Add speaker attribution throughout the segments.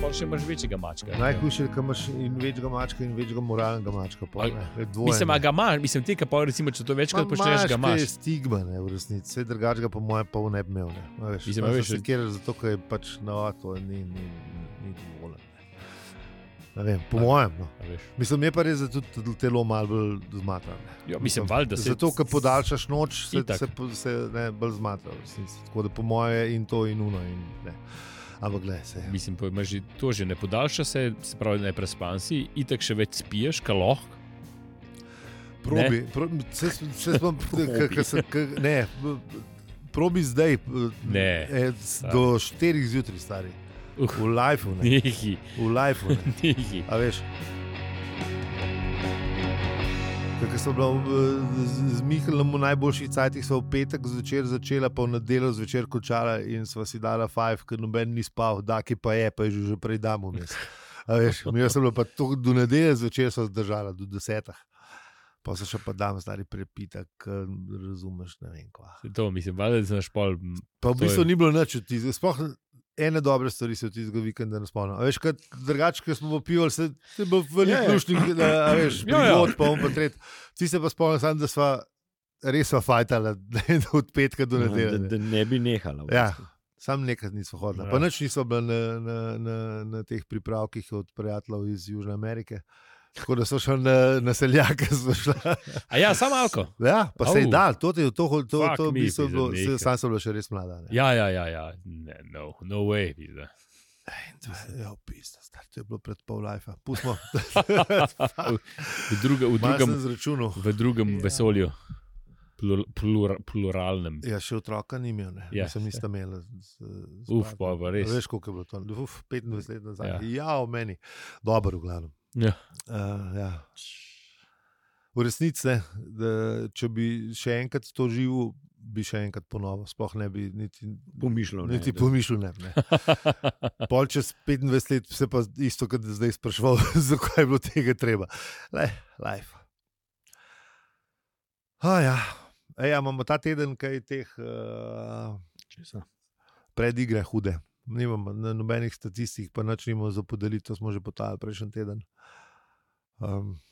Speaker 1: pol še imaš večjega mačka.
Speaker 2: Najhujše je, da imaš in večjega mačka, in večjega moralnega mačka. Pol,
Speaker 1: Ali-
Speaker 2: ne. To je dvoje,
Speaker 1: Mislim,
Speaker 2: ne.
Speaker 1: a ga imaš, mislim, ti, ki pa recimo, če to večkrat
Speaker 2: Ma,
Speaker 1: počneš, ga
Speaker 2: Te
Speaker 1: imaš.
Speaker 2: stigma je v resnici, vse drugačnega, po mojem, pa v ne bi imel. Ne. A Veš,
Speaker 1: Mislim, a
Speaker 2: pa
Speaker 1: veš,
Speaker 2: se kjer, zato, ker je pač na to ni, ni, ni dovolj. Ne vem, po
Speaker 1: A-
Speaker 2: mojem. No.
Speaker 1: A veš.
Speaker 2: Mislim, je pa res, da tudi tudi telo malo bolj zmatra. ne.
Speaker 1: Jo, mislim, valjda se
Speaker 2: Zato, ker podaljšaš noč, se,
Speaker 1: Itak.
Speaker 2: se, po- se ne, bolj zmatra. v resnici. Tako da po mojem in to in uno. In, ne. Ampak gled, se.
Speaker 1: Mislim, pa imaš že- to že ne podaljša se, se pravi, ne prespan si, itek še več spiješ, kaloh.
Speaker 2: Probi, pro, se, se spom, k, k, se, k, ne, probi zdaj.
Speaker 1: Ne.
Speaker 2: E, s- do 4 zjutraj, stari.
Speaker 1: Uh,
Speaker 2: V lifeu, ne.
Speaker 1: Nehi,
Speaker 2: V lifeu, ne.
Speaker 1: nehi.
Speaker 2: A veš. Ker so bila v- z- z Mihaelom v najboljših cajtih, so v petek zvečer začela, pa v nedeljo zvečer končala in sva si dala five, ker noben ni spal, da ki pa je, pa je že- že prej damo mes. A veš, mi smo pa to do nedelje zvečer so zdržala, do desetah. Pa se še pa dam stari prepitek, ker razumeš, ne vem kva.
Speaker 1: To mislim, valjda, da znaš pol. m,
Speaker 2: Pa
Speaker 1: To
Speaker 2: v
Speaker 1: je-
Speaker 2: bistvu ni bilo nič od tistega. Sploh ene dobre stvari se od tistega vikenda ne spomnim. A Veš, kot drugače, ko smo popivali, se je bilo
Speaker 1: Ja,
Speaker 2: veliko
Speaker 1: ja.
Speaker 2: dušnih, a veš,
Speaker 1: Ja, ja.
Speaker 2: prigod, pa on pa tret. Ti se pa spomnim, sam, da sva res sva fajtala od
Speaker 1: Ja,
Speaker 2: petka do
Speaker 3: da,
Speaker 2: nedelje.
Speaker 3: da ne bi nehala. v
Speaker 2: Ja.
Speaker 3: bistvu.
Speaker 2: Sam nekaj nismo hodili,
Speaker 1: Ja.
Speaker 2: pa nič nismo bili na, na, na, na teh pripravkih od prijateljev iz Južne Amerike. Tako da so šli na, na seljake, so šli.
Speaker 1: A ja, samo alko.
Speaker 2: Ja, pa se je
Speaker 1: Au.
Speaker 2: dal, to je to, to, to,
Speaker 1: Fuck
Speaker 2: to v
Speaker 1: me,
Speaker 2: bistvu
Speaker 1: pizda,
Speaker 2: bilo, se-
Speaker 1: nehaj.
Speaker 2: sam sem bila še res mlada. Ne.
Speaker 1: Ja, ja, ja, ja. Ne, no, no way. pizda.
Speaker 2: Ja, pisa, star, to je bilo pred pol lajfa. Pustimo,
Speaker 1: V, druga, v
Speaker 2: malo
Speaker 1: drugem,
Speaker 2: sem zračunal.
Speaker 1: v drugem
Speaker 2: Ja.
Speaker 1: vesolju, plur, plur, pluralnem.
Speaker 2: Ja, še otroka ni imel, ne.
Speaker 1: Ja.
Speaker 2: Ja, sem nista imela. z- z
Speaker 1: Uf,
Speaker 2: bratom.
Speaker 1: pa, pa
Speaker 2: A
Speaker 1: res.
Speaker 2: Veš, koliko je bilo to? Uf, 25 let nazaj.
Speaker 1: Ja.
Speaker 2: Ja, ja o meni. Dobro, v glavnem.
Speaker 1: Ja.
Speaker 2: Uh, ja. V resnici, ne, da, če bi še enkrat to živel, bi še enkrat ponovno, sploh ne bi niti,
Speaker 3: Pomišljal ne,
Speaker 2: niti
Speaker 3: da-
Speaker 2: pomišljal. Ne, ne. Pol čez 25 let se pa isto, kot zdaj sprašval, zakaj je bilo tega treba. Le, life. Ah, ja. E, ja, imamo ta teden kaj teh uh,
Speaker 3: Česa?
Speaker 2: predigre hude. Nimamo na nobenih statistik, pa nič nimamo za podeliti, to smo že potali prejšnji teden. Um,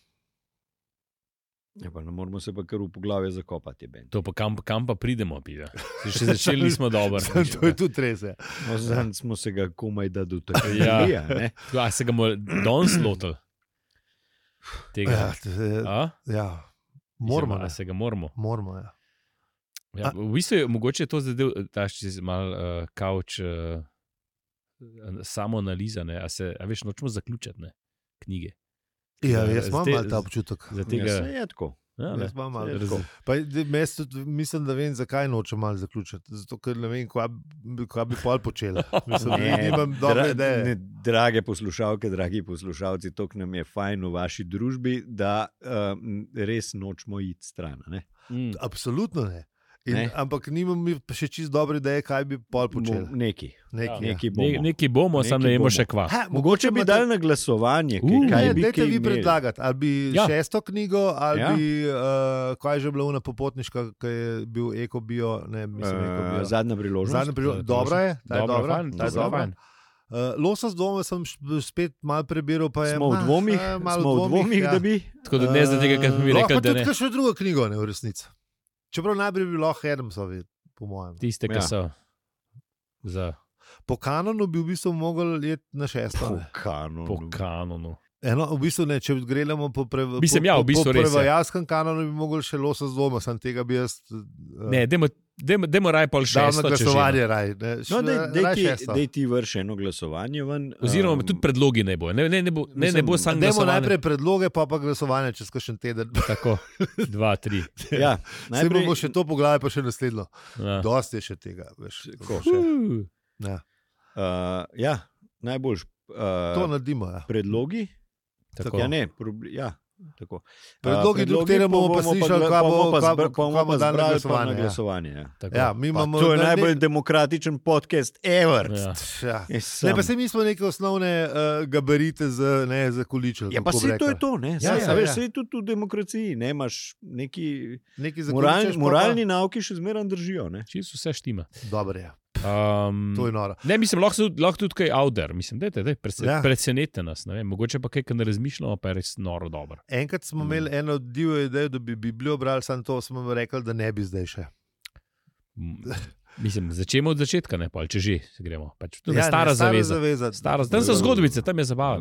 Speaker 3: Ja, pa ne moramo se pa kar v poglavje zakopati. je bend.
Speaker 1: To pa kam, kam pa pridemo, pida. Še začeli smo dobro.
Speaker 2: to je tudi res. Ja.
Speaker 3: No, Zanj smo se ga komaj da dotaknili.
Speaker 1: Ja.
Speaker 3: a ne.
Speaker 1: A se ga bomo danes lotili?
Speaker 2: Ja,
Speaker 1: Tega.
Speaker 2: to je-
Speaker 1: A?
Speaker 2: ja. Moramo.
Speaker 1: Mislim,
Speaker 2: ne.
Speaker 1: a se ga moramo.
Speaker 2: Moramo ja.
Speaker 1: Ja,
Speaker 2: A-
Speaker 1: v bistvu je mogoče je to zadev, da si malo uh, kavč, uh, samo analiza, ne, a, se, a veš, nočemo zaključiti ne, knjige.
Speaker 2: Ja,
Speaker 1: Ja,
Speaker 2: jaz imam
Speaker 1: zdaj-
Speaker 2: malo ta občutek.
Speaker 1: Zaradi
Speaker 3: Ja,
Speaker 1: tega,
Speaker 3: saj je tako.
Speaker 1: ja, ne,
Speaker 2: Jaz imam malo.
Speaker 1: raz-
Speaker 3: tako.
Speaker 2: Pa, de, mes tudi, mislim, da vem, zakaj nočem malo zaključiti. Zato, ker ne vem, kva, bi- kva bi pol počela. Mislim, ne, nimam dobre ideje.
Speaker 3: ne, drage poslušalke, dragi poslušalci, to nam je fajn v vaši družbi, da um, res nočemo iti stran. a Ne?
Speaker 1: Mm.
Speaker 2: Absolutno ne. In,
Speaker 3: Ne.
Speaker 2: ne. Ampak nimam mi pa še čist dobre ideje, kaj bi pol počela.
Speaker 3: Mo- Neki.
Speaker 2: Nekaj,
Speaker 1: ja.
Speaker 2: ja.
Speaker 3: neki bomo.
Speaker 1: Ne, nekaj bomo, samo ne
Speaker 3: Nekaj
Speaker 1: vemo
Speaker 3: bomo.
Speaker 1: še kva.
Speaker 2: Ha,
Speaker 3: Mogoče bi
Speaker 2: imate-
Speaker 3: dali na glasovanje, kaj,
Speaker 1: Uh.
Speaker 3: kaj
Speaker 2: Ne,
Speaker 3: bi
Speaker 2: dajte
Speaker 3: kaj
Speaker 2: vi
Speaker 3: imeli.
Speaker 2: predlagati. Ali bi
Speaker 1: Ja.
Speaker 2: ja. šesto knjigo, ali
Speaker 3: Ja.
Speaker 2: ja. bi, uh, kaj je že bila ona popotniška, ki je bil ekobio, ne mislim,
Speaker 3: Eh,
Speaker 2: ekobio.
Speaker 3: zadnja priložnost.
Speaker 2: ja. Zadnja priložnost, dobra je, ta je
Speaker 1: Dobra,
Speaker 2: dobra.
Speaker 1: fajn,
Speaker 2: ta je
Speaker 1: dobra,
Speaker 2: dobra.
Speaker 1: fajn.
Speaker 2: Uh, Losa z dvoma sem šp- spet malo prebiral. pa je,
Speaker 3: Smo v
Speaker 2: ma,
Speaker 3: dvomih,
Speaker 2: eh, malo
Speaker 3: smo v dvomih, da bi.
Speaker 1: Tako da ne zaradi tega, ker smo mi
Speaker 2: Eh,
Speaker 1: rekli,
Speaker 2: Lahko
Speaker 1: da
Speaker 2: tudi
Speaker 1: ne.
Speaker 2: kakšno drugo knjigo, ne v resnici. Čeprav najprej bi lahko Hermsovi, po mojem.
Speaker 1: Tiste, ki
Speaker 3: Ja.
Speaker 1: so. Za,
Speaker 2: Po kanonu bi v bistvu mogel jet na šesto. ne.
Speaker 3: Pokano.
Speaker 1: po kanonu.
Speaker 2: Eno, v bistvu ne, če gremo po prevajalskem
Speaker 1: Mislim, ja, v bistvu res je.
Speaker 2: prevajalskem kanonu, bi mogel še losa z dvoma, sem tega bi jaz. eh,
Speaker 1: Ne, demo, demo, demo raj pol še.
Speaker 2: Dal na glasovanje, raj. Ne,
Speaker 3: No,
Speaker 2: Š-
Speaker 3: daj, daj,
Speaker 2: raj
Speaker 3: ti,
Speaker 2: Pač, eh, šesto.
Speaker 3: daj ti vrš eno glasovanje. Ven, ehm,
Speaker 1: Oziroma,
Speaker 3: em,
Speaker 1: tudi predlogi ne bo. Ne, ne, ne bo, ne, ne bo
Speaker 3: mislim,
Speaker 1: sam
Speaker 2: Um. Dajmo
Speaker 1: glasovanje.
Speaker 2: najprej predloge, pa pa glasovanje čez kakšen teden.
Speaker 1: Tako, dva, tri.
Speaker 3: Ja,
Speaker 2: Najprej
Speaker 3: najprej
Speaker 2: bomo še to poglavje, pa še naslednjo.
Speaker 1: Ja.
Speaker 2: Dosti je še tega. Veš,
Speaker 3: Tako.
Speaker 2: še.
Speaker 1: Uh,
Speaker 2: Ja.
Speaker 3: Uh, ja, najboljš.
Speaker 2: To
Speaker 3: Uh,
Speaker 2: naredimo. Ja.
Speaker 3: predlogi?
Speaker 1: tako.
Speaker 3: Ja, ne, proble, ja, tako.
Speaker 2: Predlogi, do katerih bomo pa slišali,
Speaker 3: gla-
Speaker 2: kaj
Speaker 3: bomo
Speaker 2: bo-
Speaker 3: pa
Speaker 2: kaj
Speaker 3: zbra-
Speaker 2: bo-
Speaker 3: bomo
Speaker 2: kaj
Speaker 3: pa
Speaker 2: bo dali na
Speaker 3: zbrali pa
Speaker 2: glasovanje,
Speaker 3: na
Speaker 2: ja.
Speaker 3: glasovanje. Ja.
Speaker 1: tako.
Speaker 2: Ja, mi
Speaker 3: Pa,
Speaker 2: imamo
Speaker 3: to je
Speaker 2: ne-
Speaker 3: najbolj
Speaker 2: ne-
Speaker 3: demokratičen podcast, ever.
Speaker 1: Ja.
Speaker 2: Ja.
Speaker 3: Ja.
Speaker 2: Ne, pa se mi smo neke osnovne uh, gabarite za, ne, za količek.
Speaker 3: Ja, pa se to je to, ne? Saj,
Speaker 2: Ja,
Speaker 3: ja, ja,
Speaker 2: ja,
Speaker 3: veš,
Speaker 2: ja.
Speaker 3: saj tudi v demokraciji, ne imaš neki
Speaker 2: Neki
Speaker 3: moralni, moralni nauki še zmeraj držijo. Ne?
Speaker 1: Čisto vse štima.
Speaker 2: Dobro je. Pff,
Speaker 1: Um,
Speaker 2: To je noro.
Speaker 1: Ne, mislim, lahko, so- lahko tudi kaj outer, mislim, dajte, daj, prese,
Speaker 2: Ja.
Speaker 1: ja. presenete nas. ne Vem, mogoče pa kaj, kar ne razmišljamo, pa je res noro dobro.
Speaker 2: Enkrat smo
Speaker 1: Mm.
Speaker 2: imeli eno divjo idejo, da bi Biblijo brali, samo to smo rekli, da ne bi zdaj še.
Speaker 1: M, Mislim, začnemo od začetka, ne pa če že se gremo. Pač, to je
Speaker 2: Ja,
Speaker 1: ja,
Speaker 2: ne,
Speaker 1: stara ne, zaveza.
Speaker 2: zaveza.
Speaker 1: Stara, tam so zgodbice, tam je zabava.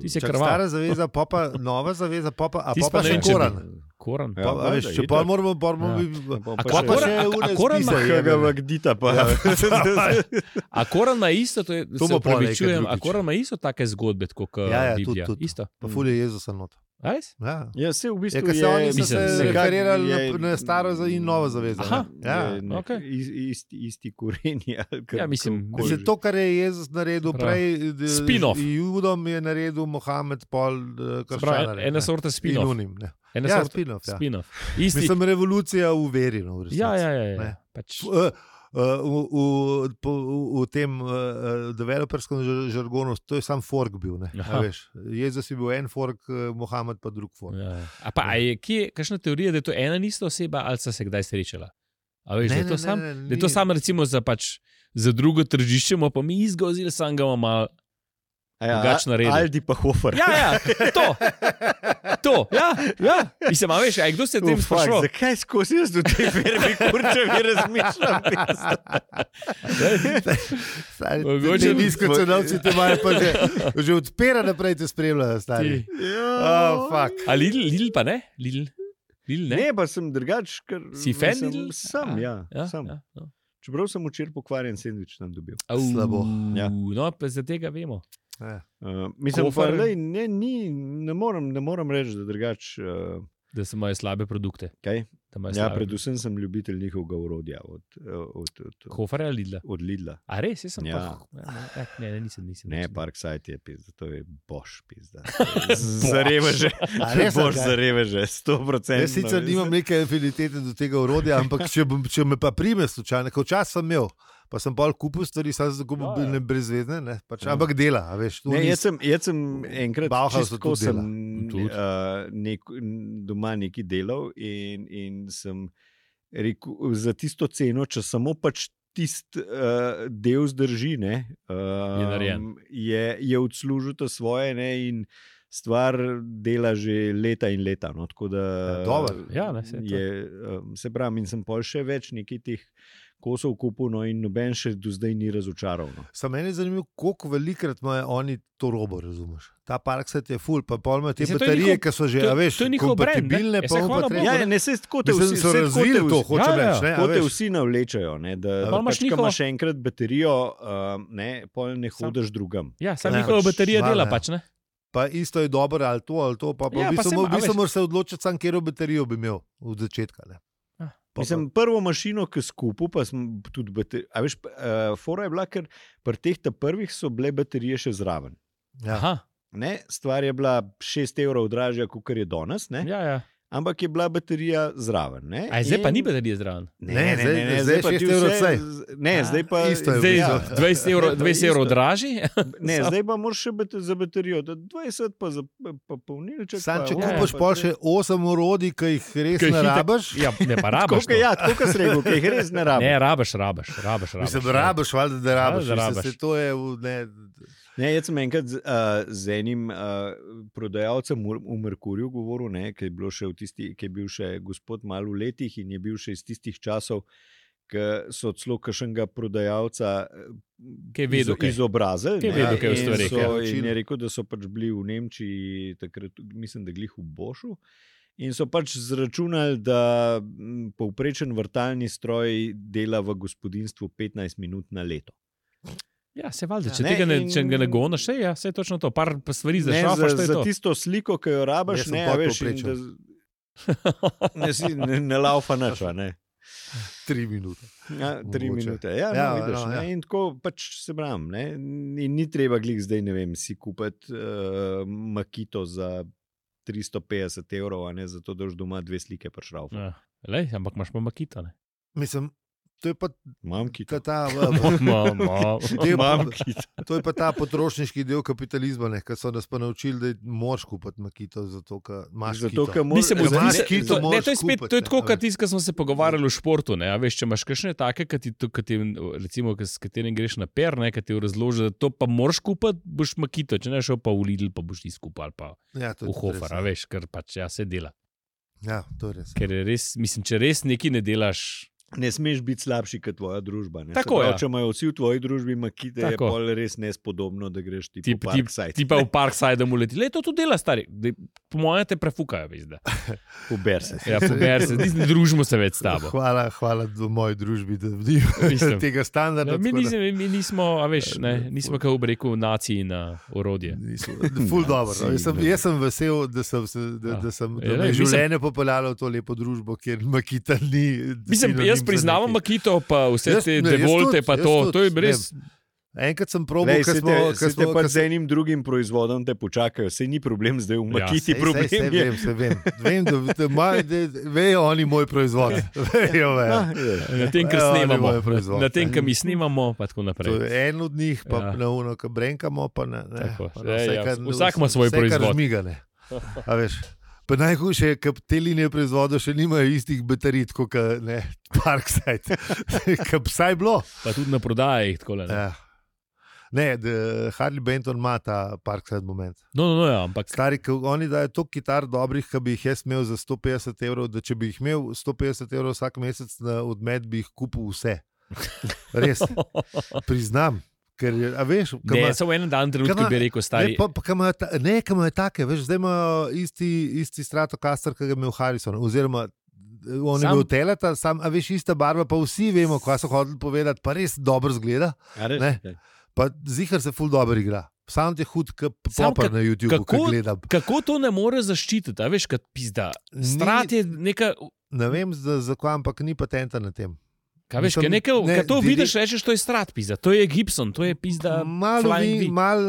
Speaker 1: Ti si
Speaker 2: Čak,
Speaker 1: krvav.
Speaker 2: stara zaveza, pa pa nova zaveza, pa pa, a
Speaker 1: Tisto
Speaker 2: pol
Speaker 1: pa
Speaker 2: pa
Speaker 1: ne
Speaker 2: še
Speaker 1: vem, če bi-
Speaker 2: koran.
Speaker 1: Koran.
Speaker 3: Ja,
Speaker 2: Pa, a veš,
Speaker 3: valjda,
Speaker 2: če
Speaker 3: itak.
Speaker 2: pa moramo, moramo
Speaker 1: Ja.
Speaker 2: ja.
Speaker 3: Pa
Speaker 1: A
Speaker 3: pa
Speaker 1: kva
Speaker 3: še-
Speaker 1: Koran-
Speaker 2: še
Speaker 1: a- a
Speaker 2: ure
Speaker 1: Koran ima-
Speaker 2: spisa,
Speaker 3: Kakega
Speaker 2: jebe.
Speaker 3: Magdita, pa
Speaker 2: Ja.
Speaker 1: A koran ima isto, to je,
Speaker 2: To
Speaker 1: to
Speaker 2: bo
Speaker 1: se
Speaker 2: pol nekaj
Speaker 1: upravičujem, a
Speaker 2: drugič.
Speaker 1: koran ima isto take zgodbe, kot uh,
Speaker 2: Ja, ja, tudi,
Speaker 1: Biblija.
Speaker 2: tudi.
Speaker 1: Isto.
Speaker 2: Pa fulje Jezus not.
Speaker 1: A res?
Speaker 2: Ja.
Speaker 3: Ja, se v
Speaker 2: Ja,
Speaker 3: bistvu
Speaker 2: ker se oni so
Speaker 1: mislim,
Speaker 2: se
Speaker 1: se-
Speaker 2: referirali na, na staro za- in novo zavezo. ne.
Speaker 1: Aha.
Speaker 2: ja.
Speaker 3: je nek-
Speaker 1: okej.
Speaker 3: is- isti, isti korenje. ali kar-
Speaker 1: Ja, mislim,
Speaker 3: kako-
Speaker 2: Mislim, to, kar je Jezus naredil
Speaker 1: Prav.
Speaker 2: prej, d- z
Speaker 1: Spin-off.
Speaker 2: Judom je naredil Mohamed pol eh,
Speaker 1: Se pravi,
Speaker 2: krščana.
Speaker 1: Ena sorta spinov. Ena
Speaker 2: Ja,
Speaker 1: sorta
Speaker 2: spin-off, ja.
Speaker 1: spinov. Isti.
Speaker 2: Mislim, revolucija v veri. No, v resnici.
Speaker 1: Ja, ja, ja. ja.
Speaker 2: Ne.
Speaker 1: Pač,
Speaker 2: F- eh, eh, V, v, po- v, v tem eh, eh, developerskem žar- žargonu to je sam fork bil. ne, a
Speaker 1: Aha.
Speaker 2: veš. Jezus je bil en fork, eh, Mohamed pa drug fork.
Speaker 1: ja. ja. A pa a je kje kakšna teorija, da je to ena in ista oseba, ali sta se kdaj srečala? A veš, da je to sam? Da je to
Speaker 2: ni-
Speaker 1: samo recimo za, pač, za drugo tržišče, bomo pa mi izgozili, sam ga imamo malo.
Speaker 3: A ja,
Speaker 1: drugače naredil.
Speaker 3: Aldi pa hofer.
Speaker 1: Ja, ja, to, to, ja, ja. Mislim, a veš, a je kdo se je tem
Speaker 3: Oh, fuck,
Speaker 1: sprašuje?
Speaker 3: Zakaj skozi jaz do te verbi, kurče, mi razmišljam? pizda.
Speaker 2: Stari,
Speaker 1: Mogoče bi-
Speaker 2: Mogoče bi skočenovci te imajo pa že, že odpira naprej, te spremljajo. stari. Oh, fuck.
Speaker 1: Ja. Ali Lidl, Lidl pa ne? Lidl, Lidl ne?
Speaker 3: Ne, pa sem drugač, ker
Speaker 1: Si fan
Speaker 3: mislim,
Speaker 1: Lidl?
Speaker 3: Sem,
Speaker 1: A,
Speaker 3: ja, ja, sem. Ja.
Speaker 1: no.
Speaker 3: Čeprav sem včeraj pokvarjen sendvič tam dobil.
Speaker 1: Au,
Speaker 2: Slabo.
Speaker 3: Ja.
Speaker 1: No, pa za tega vemo.
Speaker 2: Ja.
Speaker 3: Uh, mislim, pa,
Speaker 1: Hofer?
Speaker 3: lej, ne, ni, ne, morem, ne morem reči, da drugač. Uh,
Speaker 1: Da so imajo slabe produkte.
Speaker 3: Kaj?
Speaker 1: Da imajo
Speaker 3: ja,
Speaker 1: slabe.
Speaker 3: predvsem sem ljubitelj njihovega urodja od, eh, od, od,
Speaker 1: Hofer ali Lidl.
Speaker 3: od Lidla.
Speaker 1: A res, jaz sem
Speaker 3: Ja.
Speaker 1: pa. Ja, ne, tak, ne, ne, nisem, nisem.
Speaker 3: Ne,
Speaker 1: nisem.
Speaker 3: Parkside je pizda, to je boš pizda. Zareveže,
Speaker 2: A res, a
Speaker 3: boš
Speaker 2: kaj?
Speaker 3: zareveže, 100%.
Speaker 2: Jaz sicer nimam neke afinitete do tega urodja, ampak če, bom, če me pa prime slučajno, kot čas sem imel, pa sem pol kupil stvari, sem se kupil
Speaker 1: Ja, ja.
Speaker 2: ja, ja. brezvezne, ne, pač,
Speaker 3: Ja.
Speaker 2: ampak dela, a veš, to
Speaker 3: Ne,
Speaker 2: ni-
Speaker 3: jaz, sem, jaz sem enkrat
Speaker 2: Bauhausu
Speaker 3: čisto tako
Speaker 2: tudi
Speaker 3: sem,
Speaker 2: dela.
Speaker 1: Tudi.
Speaker 3: uh, nek, n- doma nekaj delal in, in sem rekel, za tisto ceno, če samo pač tisti uh, del zdrži, ne,
Speaker 1: Je
Speaker 3: um,
Speaker 1: narejen.
Speaker 3: je, je odslužil to svoje ne, in stvar dela že leta in leta. No, tako da,
Speaker 2: Ja, dobro.
Speaker 1: Ja, ne, saj to.
Speaker 3: je, um, se pravi, in sem pol še več nekih teh kosov kupil, no, in noben še do zdaj ni razočaral. No.
Speaker 2: Sam meni je zanimivo, koliko velikrat imajo oni to robo, razumeš? Ta park set je full, pa polno te
Speaker 1: Mislim, Ja, to je
Speaker 2: baterije,
Speaker 1: njihov-
Speaker 2: ki so že,
Speaker 1: to je-
Speaker 2: a veš,
Speaker 1: to je njihov brand, ne?
Speaker 2: kompatibilne,
Speaker 1: Ja,
Speaker 2: pa
Speaker 1: saj
Speaker 2: bo
Speaker 1: hvala
Speaker 2: pa
Speaker 1: Bogu,
Speaker 3: Ja,
Speaker 2: treba.
Speaker 3: ja, ne, se tako te
Speaker 2: Mislim,
Speaker 3: vsi,
Speaker 2: da so
Speaker 3: saj tako te
Speaker 2: razvili
Speaker 3: vsi-
Speaker 2: to, hočem
Speaker 1: Ja, ja.
Speaker 2: reči. ne, a
Speaker 3: Tako te
Speaker 2: veš.
Speaker 3: vsi navlečejo. Ne, da,
Speaker 1: Pol
Speaker 3: da
Speaker 1: imaš
Speaker 3: pač, ko
Speaker 1: njihovo-
Speaker 3: imaš enkrat baterijo, um, ne, pol ne
Speaker 1: Sam-
Speaker 3: hodiš drugam.
Speaker 1: Ja, samo
Speaker 2: Ja,
Speaker 1: njihova
Speaker 2: pač
Speaker 1: baterija
Speaker 2: malo,
Speaker 1: dela,
Speaker 2: ja.
Speaker 1: pač ne.
Speaker 2: Pa isto je dobro ali to, ali to. Pa, pa
Speaker 1: Ja,
Speaker 2: ja,
Speaker 1: pa
Speaker 2: v bistvu
Speaker 1: saj,
Speaker 2: mo-
Speaker 1: a
Speaker 2: v bistvu
Speaker 1: veš.
Speaker 2: moraš se odločiti, sam, katero baterijo bi imel od začetka. ne.
Speaker 1: Ah.
Speaker 2: Pa-
Speaker 3: Mislim, prvo mašino, ki skupaj, pa sem tudi baterijo. A veš, uh, fora je bila, ker pri teh ta prvih so bile baterije še zraven.
Speaker 2: ja.
Speaker 1: Aha,
Speaker 3: Ne, stvar je bila 6 evrov dražja, kot je danes, ne?
Speaker 1: ja, ja.
Speaker 3: ampak je bila baterija zraven. Ne?
Speaker 1: A je zdaj pa
Speaker 3: In-
Speaker 1: ni baterije zraven.
Speaker 3: Ne, ne, ne,
Speaker 2: zdaj-
Speaker 3: ne,
Speaker 2: zdaj
Speaker 3: pa ti
Speaker 2: 6 evrov
Speaker 3: vse-
Speaker 2: cej.
Speaker 3: Ne, zdaj pa
Speaker 2: Isto je v
Speaker 1: Zdaj je
Speaker 2: Ja.
Speaker 1: 20 evrov,
Speaker 3: Ne, to je
Speaker 1: 20 evrov
Speaker 3: isto.
Speaker 1: dražji.
Speaker 3: Ne,
Speaker 1: Samo-
Speaker 3: zdaj pa moraš še bate, za baterijo, da 20 pa za pa polnilček.
Speaker 2: Sam, če
Speaker 1: Ja, ja,
Speaker 2: kupiš pol še 8 orodij, ki jih res
Speaker 1: Ki jih
Speaker 2: ne
Speaker 1: itak-
Speaker 2: rabiš,
Speaker 1: Ja, ne pa rabaš.
Speaker 3: Tako
Speaker 1: to.
Speaker 3: je, ja, tako kot sem rekel, ki jih res ne rabim.
Speaker 1: Ne, rabaš, rabaš, rabaš. rabaš
Speaker 2: mislim,
Speaker 1: ja.
Speaker 2: rabiš, valjda, da rabiš.
Speaker 1: da
Speaker 2: Mislim,
Speaker 1: rabiš.
Speaker 2: se to je v- ne,
Speaker 3: Ne, jaz sem enkrat z, uh, z enim uh, prodajalcem v v Merkurju govoril, ne, ki, je bilo še v tisti, ki je bil še gospod malo v letih in je bil še iz tistih časov, ki so celo kašnega prodajalca eh,
Speaker 1: Ki je vedel,
Speaker 3: izo-
Speaker 1: kaj.
Speaker 3: izobrazili.
Speaker 1: Ki je
Speaker 3: ne,
Speaker 2: vedel, kaj v
Speaker 3: in
Speaker 2: stvareh,
Speaker 3: so-
Speaker 2: ja.
Speaker 3: In je rekel, da so pač bili v Nemčiji, takrat, mislim, da glih v Bošu. In so pač zračunali, da m, povprečen vrtalni stroj dela v gospodinstvu 15 minut na leto.
Speaker 1: Ja, se valjda, če,
Speaker 3: Ne,
Speaker 1: tega ne, če
Speaker 3: in-
Speaker 1: ga ne gonaš, sej, ja, se je točno to. Par pa stvari
Speaker 3: Ne,
Speaker 1: zašrafaš,
Speaker 3: za,
Speaker 1: to je
Speaker 3: za
Speaker 1: to.
Speaker 3: tisto sliko, ki jo rabiš,
Speaker 2: Jaz sem
Speaker 3: ne a
Speaker 2: pol
Speaker 3: veš, in
Speaker 2: povprečen.
Speaker 3: da, z- ne, si, ne, ne laufa nič. a Ne.
Speaker 2: 3 minute.
Speaker 3: Ja, tri
Speaker 2: Mogoče.
Speaker 3: minute. Ja,
Speaker 2: Ja,
Speaker 3: no, vidiš,
Speaker 2: no,
Speaker 3: ne,
Speaker 2: ja.
Speaker 3: In tako pač se bram. Ne. In ni treba glih zdaj, ne vem, si kupiti uh, makito za 350 evrov, a ne zato, da boš doma dve slike prišel.
Speaker 1: Ja. Lej, ampak imaš pa makita. Ne?
Speaker 2: Mislim, To je pa
Speaker 3: Imam kito.
Speaker 2: ta, ta, eh, Del-
Speaker 3: Imam kito.
Speaker 2: to je pa ta potrošniški del kapitalizma, ne, ki so nas pa naučili, da je- moraš kupiti makito, zato ker imaš
Speaker 3: Zato,
Speaker 2: kito.
Speaker 3: ker moraš-
Speaker 1: Mislim,
Speaker 2: Ker
Speaker 1: da
Speaker 2: imaš
Speaker 1: se
Speaker 2: kito,
Speaker 1: to, ne,
Speaker 2: moraš
Speaker 1: to je spet
Speaker 2: kupiti,
Speaker 1: to je
Speaker 2: ne,
Speaker 1: tako,
Speaker 2: a
Speaker 1: kot
Speaker 2: veš.
Speaker 1: tisto, kar smo se pogovarjali v športu. Ne, a veš, če imaš kakšne take, ki ti, to- ki ti, recimo, ki- s katerim greš na per, ne, ki ti razloži, da to pa moraš kupiti, boš makito, če ne šel pa v Lidl, pa boš ti skupaj ali pa
Speaker 2: Ja, to je
Speaker 1: v
Speaker 2: tudi
Speaker 1: Hofer,
Speaker 2: res,
Speaker 1: a
Speaker 2: ja.
Speaker 1: veš, ker pač ja, se dela.
Speaker 2: Ja, to je res.
Speaker 1: Ker je res, mislim, če res nekaj ne delaš,
Speaker 3: Ne smeš biti slabši kot tvoja družba. Ne? Se
Speaker 1: Tako,
Speaker 3: pravi,
Speaker 1: ja.
Speaker 3: Če imajo vsi v tvoji družbi makite, je
Speaker 1: Tako.
Speaker 3: pol res nespodobno, da greš ti
Speaker 1: Ti-
Speaker 3: po
Speaker 1: ti-
Speaker 3: Parkside.
Speaker 1: ti pa v Parkside uleti. Le to tudi dela, stari. Daj, Po mojem te prefukajo, veš. da.
Speaker 3: Uber se.
Speaker 1: Ja, pober se, ti ne družimo se več s tabo.
Speaker 2: Hvala, hvala do moji družbi, da vidim
Speaker 1: Mislim.
Speaker 2: tega standarda.
Speaker 1: Ne, No, mi,
Speaker 2: Ja, tako da- Ja,
Speaker 1: nismo, mi nismo, a veš, ne, nismo kot bi rekel, naciji na orodje.
Speaker 2: Niso- Ful dobro. no. Jaz sem, jaz sem vesel, da sem, se, da,
Speaker 1: Hm. Ja.
Speaker 2: da sem
Speaker 1: Ja,
Speaker 2: da me
Speaker 1: lej,
Speaker 2: je
Speaker 1: mislim-
Speaker 2: življenje popeljalo v to lepo družbo, kjer makita ni.
Speaker 1: Mislim,
Speaker 2: sinonim
Speaker 1: jaz
Speaker 2: za
Speaker 1: priznavam
Speaker 2: nekaj.
Speaker 1: Makito, pa vse
Speaker 2: Jaz-
Speaker 1: jaz,
Speaker 2: ne,
Speaker 1: te
Speaker 2: jaz
Speaker 1: devolte,
Speaker 2: tudi,
Speaker 1: pa
Speaker 2: jaz
Speaker 1: to.
Speaker 2: tudi,
Speaker 1: To je
Speaker 2: ne
Speaker 1: res.
Speaker 2: Enkrat sem probal,
Speaker 3: Lej,
Speaker 2: ker
Speaker 3: se
Speaker 2: smo,
Speaker 3: te,
Speaker 2: ker
Speaker 3: se te
Speaker 2: smo,
Speaker 3: pa
Speaker 2: ker
Speaker 3: z enim drugim proizvodom te počakajo, se ni problem zdaj v makiti,
Speaker 2: Sej,
Speaker 3: ja,
Speaker 2: sej,
Speaker 3: problem
Speaker 2: sej,
Speaker 3: je.
Speaker 2: Vem, sej, vem. vem da, da, ima, da, vejo oni moj proizvod. Vejo, vejo.
Speaker 1: Ja.
Speaker 3: Ah, je.
Speaker 1: Na tem, kar
Speaker 2: Ja, oni
Speaker 1: snemamo,
Speaker 2: bojo proizvod.
Speaker 1: na tem, kar mi snemamo, pa tako naprej.
Speaker 2: To je en od njih, pa
Speaker 1: Ja.
Speaker 2: ja. na uno, ki brenkamo. Pa na, ne,
Speaker 1: Tako,
Speaker 2: pa
Speaker 1: ja,
Speaker 2: na vse,
Speaker 1: ja,
Speaker 2: kar-
Speaker 1: vsak ima svoj
Speaker 2: vse, kar
Speaker 1: proizvod.
Speaker 2: Žmigane, a veš. Pa najhujše je, ker te linije proizvodov še nimajo istih baterij, kot ka, ne, Parkside. Kaj bi vsaj bilo.
Speaker 1: Pa tudi na prodaji. Takole, ne.
Speaker 2: Ja. Ne, da Harley Benton ima ta Parkside moment.
Speaker 1: No, no, no, ja, ampak
Speaker 2: Stari, ko oni dajo toliko kitar dobrih, ki bi jih jaz imel za 150 evrov, da če bi jih imel 150 evrov vsak mesec na odmet, bi jih kupil vse. Res, priznam. Ker, je- a veš, ko
Speaker 1: ne,
Speaker 2: ima-
Speaker 1: samo en dan trenutku
Speaker 2: Kama-
Speaker 1: bi rekel,
Speaker 2: Ne,
Speaker 1: stari.
Speaker 2: pa, pa, kam imajo ta, ne, kam imajo take, veš, zdaj imajo isti, isti stratokaster, ki ga je imel Harrison. Oziroma, eh, on je
Speaker 1: Sam-
Speaker 2: bil teleta, sam, a veš, ista barva, pa vsi vemo, kaj so hoteli povedati, pa res dobro zgleda,
Speaker 3: A res?
Speaker 2: Ne. pa zihar se ful dobro igra. Sam je hud, kot
Speaker 1: Sam
Speaker 2: popr
Speaker 1: ka-
Speaker 2: na YouTubu,
Speaker 1: kako-
Speaker 2: ko gledam.
Speaker 1: Kako to ne more zaščititi, a veš, kot pizda.
Speaker 2: Ni-
Speaker 1: Strat je neka,
Speaker 2: Ne vem, za- zakaj, ampak ni patenta na tem.
Speaker 1: kaj veš,
Speaker 2: Mislim,
Speaker 1: kaj nekaj,
Speaker 2: ne,
Speaker 1: ne, kaj to
Speaker 2: diri-
Speaker 1: vidiš, rečeš, to je strat, pizda. To je Gibson, to je pizda.
Speaker 2: Malo
Speaker 1: Flying
Speaker 2: vi,
Speaker 1: V.
Speaker 2: mal,